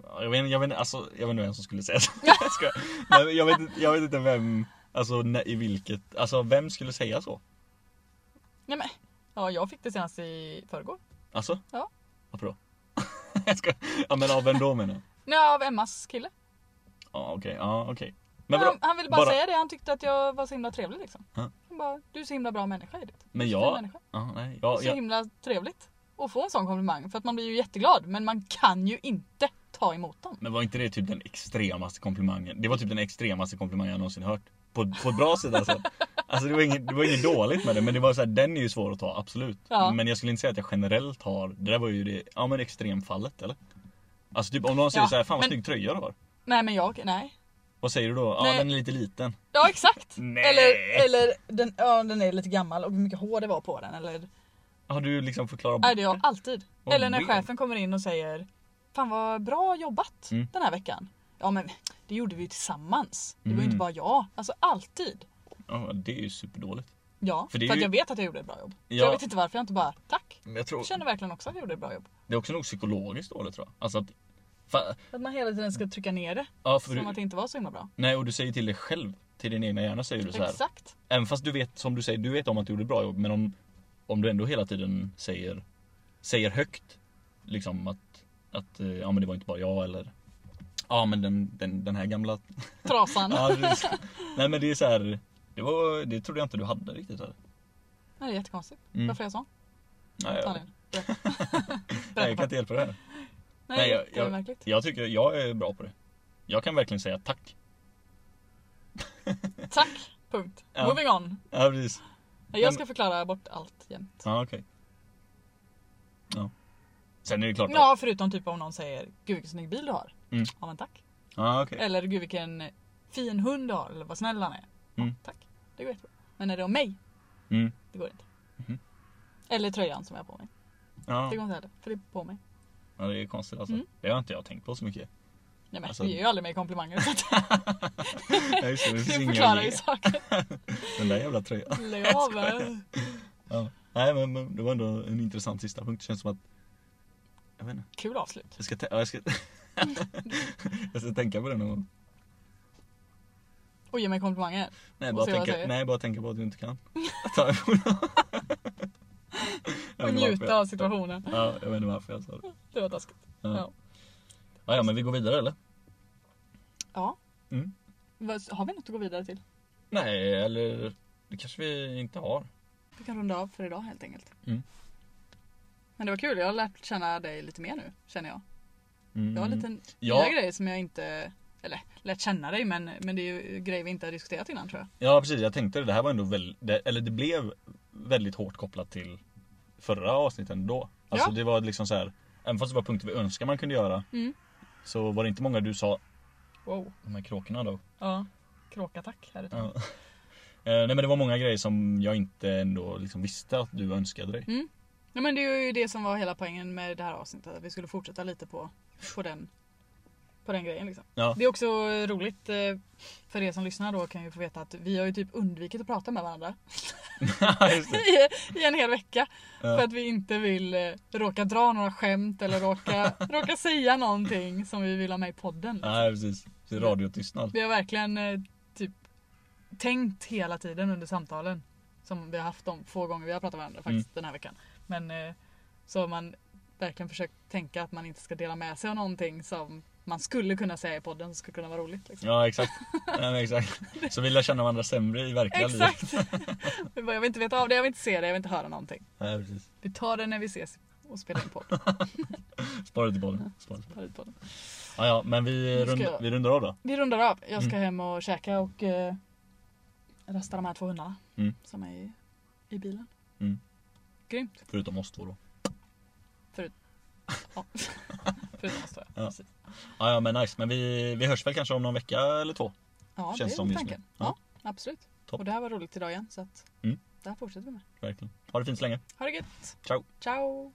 S2: Ja, Jag vet inte, jag vet, inte- alltså, jag vet inte vem som skulle säga så. Jag skojar. Nej, men jag, vet, inte- jag vet inte vem, alltså när, i vilket, alltså vem skulle säga så?
S1: Nej men, ja jag fick det senast i förrgår.
S2: Alltså?
S1: Ja.
S2: Varför då? Jag skojar. Ja men av vem då menar jag?
S1: Nej, av Emmas kille.
S2: Ja okej, ja okej. Men vadå?
S1: han, han ville bara,
S2: bara-
S1: säga det, han tyckte att jag var så himla trevlig liksom.
S2: Ja.
S1: Han bara, du är så himla bra människa Edith. Du är
S2: Men
S1: så fin
S2: jag-
S1: människa.
S2: Ja, nej, jag,
S1: Så
S2: jag,
S1: himla trevligt att få en sån komplimang. För att man blir ju jätteglad men man kan ju inte ta emot den.
S2: men var inte det typ den extremaste komplimangen? Det var typ den extremaste komplimangen jag någonsin hört. På, på ett bra sätt alltså. Alltså det var, inget, det var inget dåligt med det men det var så här, den är ju svår att ta absolut.
S1: Ja.
S2: Men jag skulle inte säga att jag generellt har, det där var ju det, ja men extremfallet eller? Alltså typ om någon säger
S1: Ja,
S2: så här, fan vad
S1: men-
S2: snygg tröja du har.
S1: Nej men jag, nej.
S2: Vad säger du då? Ja
S1: Nej.
S2: den är lite liten.
S1: Ja exakt!
S2: Nej.
S1: Eller, eller den, ja, den är lite gammal och hur mycket hår det var på den. Eller,
S2: Har du liksom förklarat
S1: nej, det är jag alltid.
S2: Vad
S1: eller när
S2: weird.
S1: chefen kommer in och säger Fan vad bra jobbat
S2: Mm.
S1: den här veckan. Ja men det gjorde vi ju tillsammans. Det var ju
S2: Mm.
S1: inte bara jag. Alltså alltid.
S2: Ja det är ju superdåligt.
S1: Ja,
S2: För
S1: för,
S2: det är
S1: att
S2: ju-
S1: jag vet att jag gjorde ett bra jobb.
S2: Ja.
S1: Jag vet inte varför jag inte bara tack.
S2: Men jag tror,
S1: Jag känner verkligen också att jag gjorde ett bra jobb.
S2: det är också nog psykologiskt dåligt tror jag. Alltså att, fa,
S1: Att man hela tiden ska trycka ner det.
S2: ja, för
S1: Som att
S2: du,
S1: det inte var så himla bra.
S2: nej och du säger till dig själv, till din egna hjärna säger du så här.
S1: Exakt.
S2: Även fast du vet, som du säger, du vet om att du gjorde ett bra jobb men om, om du ändå hela tiden säger, säger högt liksom att, att eh, ja men det var inte bara jag eller Ja men den, den, den här gamla
S1: Trasan.
S2: ja, precis. Nej men det är så här, det, var, det trodde jag inte du hade riktigt eller?
S1: Nej, det är jättekonstigt.
S2: Mm.
S1: Varför är jag sån?
S2: Nej, jag,
S1: Daniel, berätta.
S2: nej,
S1: Berätta.
S2: jag kan inte hjälpa det här.
S1: Nej,
S2: Nej, jag-
S1: det är
S2: jag-
S1: märkligt.
S2: Jag tycker jag är bra på det. Jag kan verkligen säga tack.
S1: Tack, punkt.
S2: Ja.
S1: Moving on.
S2: Ja precis.
S1: Nej,
S2: Men-
S1: Jag ska förklara bort allt jämt.
S2: Ja okej. Ja. Sen är det klart.
S1: Ja, förutom typ om någon säger Gud vilken snygg bil du har.
S2: Mm.
S1: Ja men tack.
S2: Ja okej.
S1: Eller Gud vilken fin hund du har. Eller vad snäll han är. Ja,
S2: Mm.
S1: Tack. Det går jättebra. Men är det om mig?
S2: Mm.
S1: Det går inte.
S2: Mhm.
S1: Eller tröjan som jag har på mig.
S2: Ja.
S1: Det går inte heller. För det är på mig.
S2: ja det är konstigt alltså.
S1: Mm.
S2: Det har inte jag tänkt på så mycket.
S1: Nej men
S2: Alltså-
S1: vi ger ju aldrig mer komplimanger. Så att
S2: Ja, just det, det
S1: det
S2: finns inga
S1: förklarar
S2: att ge.
S1: ju saker.
S2: Den där jävla tröjan.
S1: Lägg av. va?
S2: Ja. Nej men, men det var ändå en intressant sista punkt. Det känns som att jag vet inte.
S1: Kul avslut.
S2: Jag ska, tä- ja, jag ska... jag ska tänka på det någon gång.
S1: Okej, och ge mig komplimanger.
S2: Nej
S1: Och
S2: bara,
S1: se vad jag
S2: tänka,
S1: säger.
S2: nej, bara tänka på att du inte kan. Ta
S1: Och njuta av situationen.
S2: Ja, jag vet inte varför jag sa det.
S1: Det var taskigt.
S2: Ja.
S1: Ja.
S2: Ja, ja, men vi går vidare eller?
S1: Ja.
S2: Mm.
S1: Vad- Har vi något att gå vidare till?
S2: Nej, eller det kanske vi inte har.
S1: Vi kan runda av för idag helt enkelt.
S2: Mm.
S1: Men det var kul, jag har lärt känna dig lite mer nu känner jag.
S2: Mm.
S1: Jag har lite nya
S2: ja,
S1: grejer som jag inte, eller lärt känna dig men, men det är ju grejer vi inte har diskuterat innan tror jag.
S2: ja, precis. Jag tänkte det. Det här var ändå väl, det, eller det blev väldigt hårt kopplat till förra avsnitten då. Alltså
S1: Ja.
S2: det var liksom så här. Även fast det var punkter vi önskar man kunde göra
S1: Mm.
S2: så var det inte många du sa
S1: Wow.
S2: de här kråkorna då.
S1: Ja. Kråkattack här ute.
S2: Ja. Eh, Nej men det var många grejer som jag inte ändå liksom visste att du önskade dig.
S1: Nej, men det är ju det som var hela poängen med det här avsnittet. Att vi skulle fortsätta lite på, på, den, på den grejen. Liksom.
S2: Ja.
S1: Det är också roligt eh, för er som lyssnar då kan ju få veta att vi har ju typ undvikit att prata med varandra
S2: Just det.
S1: i, i en hel vecka.
S2: Ja.
S1: För att vi inte vill eh, råka dra några skämt eller råka, råka säga någonting som vi vill ha med i podden.
S2: Nej precis. Det är radiotystnad.
S1: Vi har verkligen eh, typ tänkt hela tiden under samtalen. Som vi har haft de få gånger vi har pratat med varandra
S2: Mm.
S1: faktiskt den här veckan. Men eh, så har man verkligen försökt tänka att man inte ska dela med sig av någonting som man skulle kunna säga i podden som skulle kunna vara roligt. Liksom.
S2: Ja exakt. Nej, men exakt. Så vi lär känna varandra sämre i verkliga livet.
S1: Exakt! Vi bara, jag vill inte veta av det, jag vill inte se det, jag vill inte höra någonting.
S2: Nej precis.
S1: Vi tar det när vi ses och spelar in podd.
S2: Spara det till bollen. Spara det.
S1: Tar ut podden.
S2: Ja, ja men vi,
S1: Nu ska
S2: rund,
S1: jag-
S2: vi rundar av då.
S1: Vi rundar av. Jag
S2: Mm.
S1: ska hem och käka och eh, rasta de här två hundarna
S2: Mm.
S1: som är i, i bilen.
S2: Mm.
S1: Grymt!
S2: Förutom oss två då.
S1: Ja. Förutom oss tror jag.
S2: Ja.
S1: Precis.
S2: Ja, ja men nice. Men vi, vi hörs väl kanske om någon vecka eller två.
S1: Ja,
S2: Känns
S1: det är
S2: som just nu.
S1: tanken. Ja, absolut.
S2: Topp.
S1: Och det här var roligt idag igen så att
S2: Mm.
S1: det här fortsätter vi med.
S2: Verkligen. Ha det fint så länge.
S1: Ha det gött!
S2: Ciao.
S1: Ciao!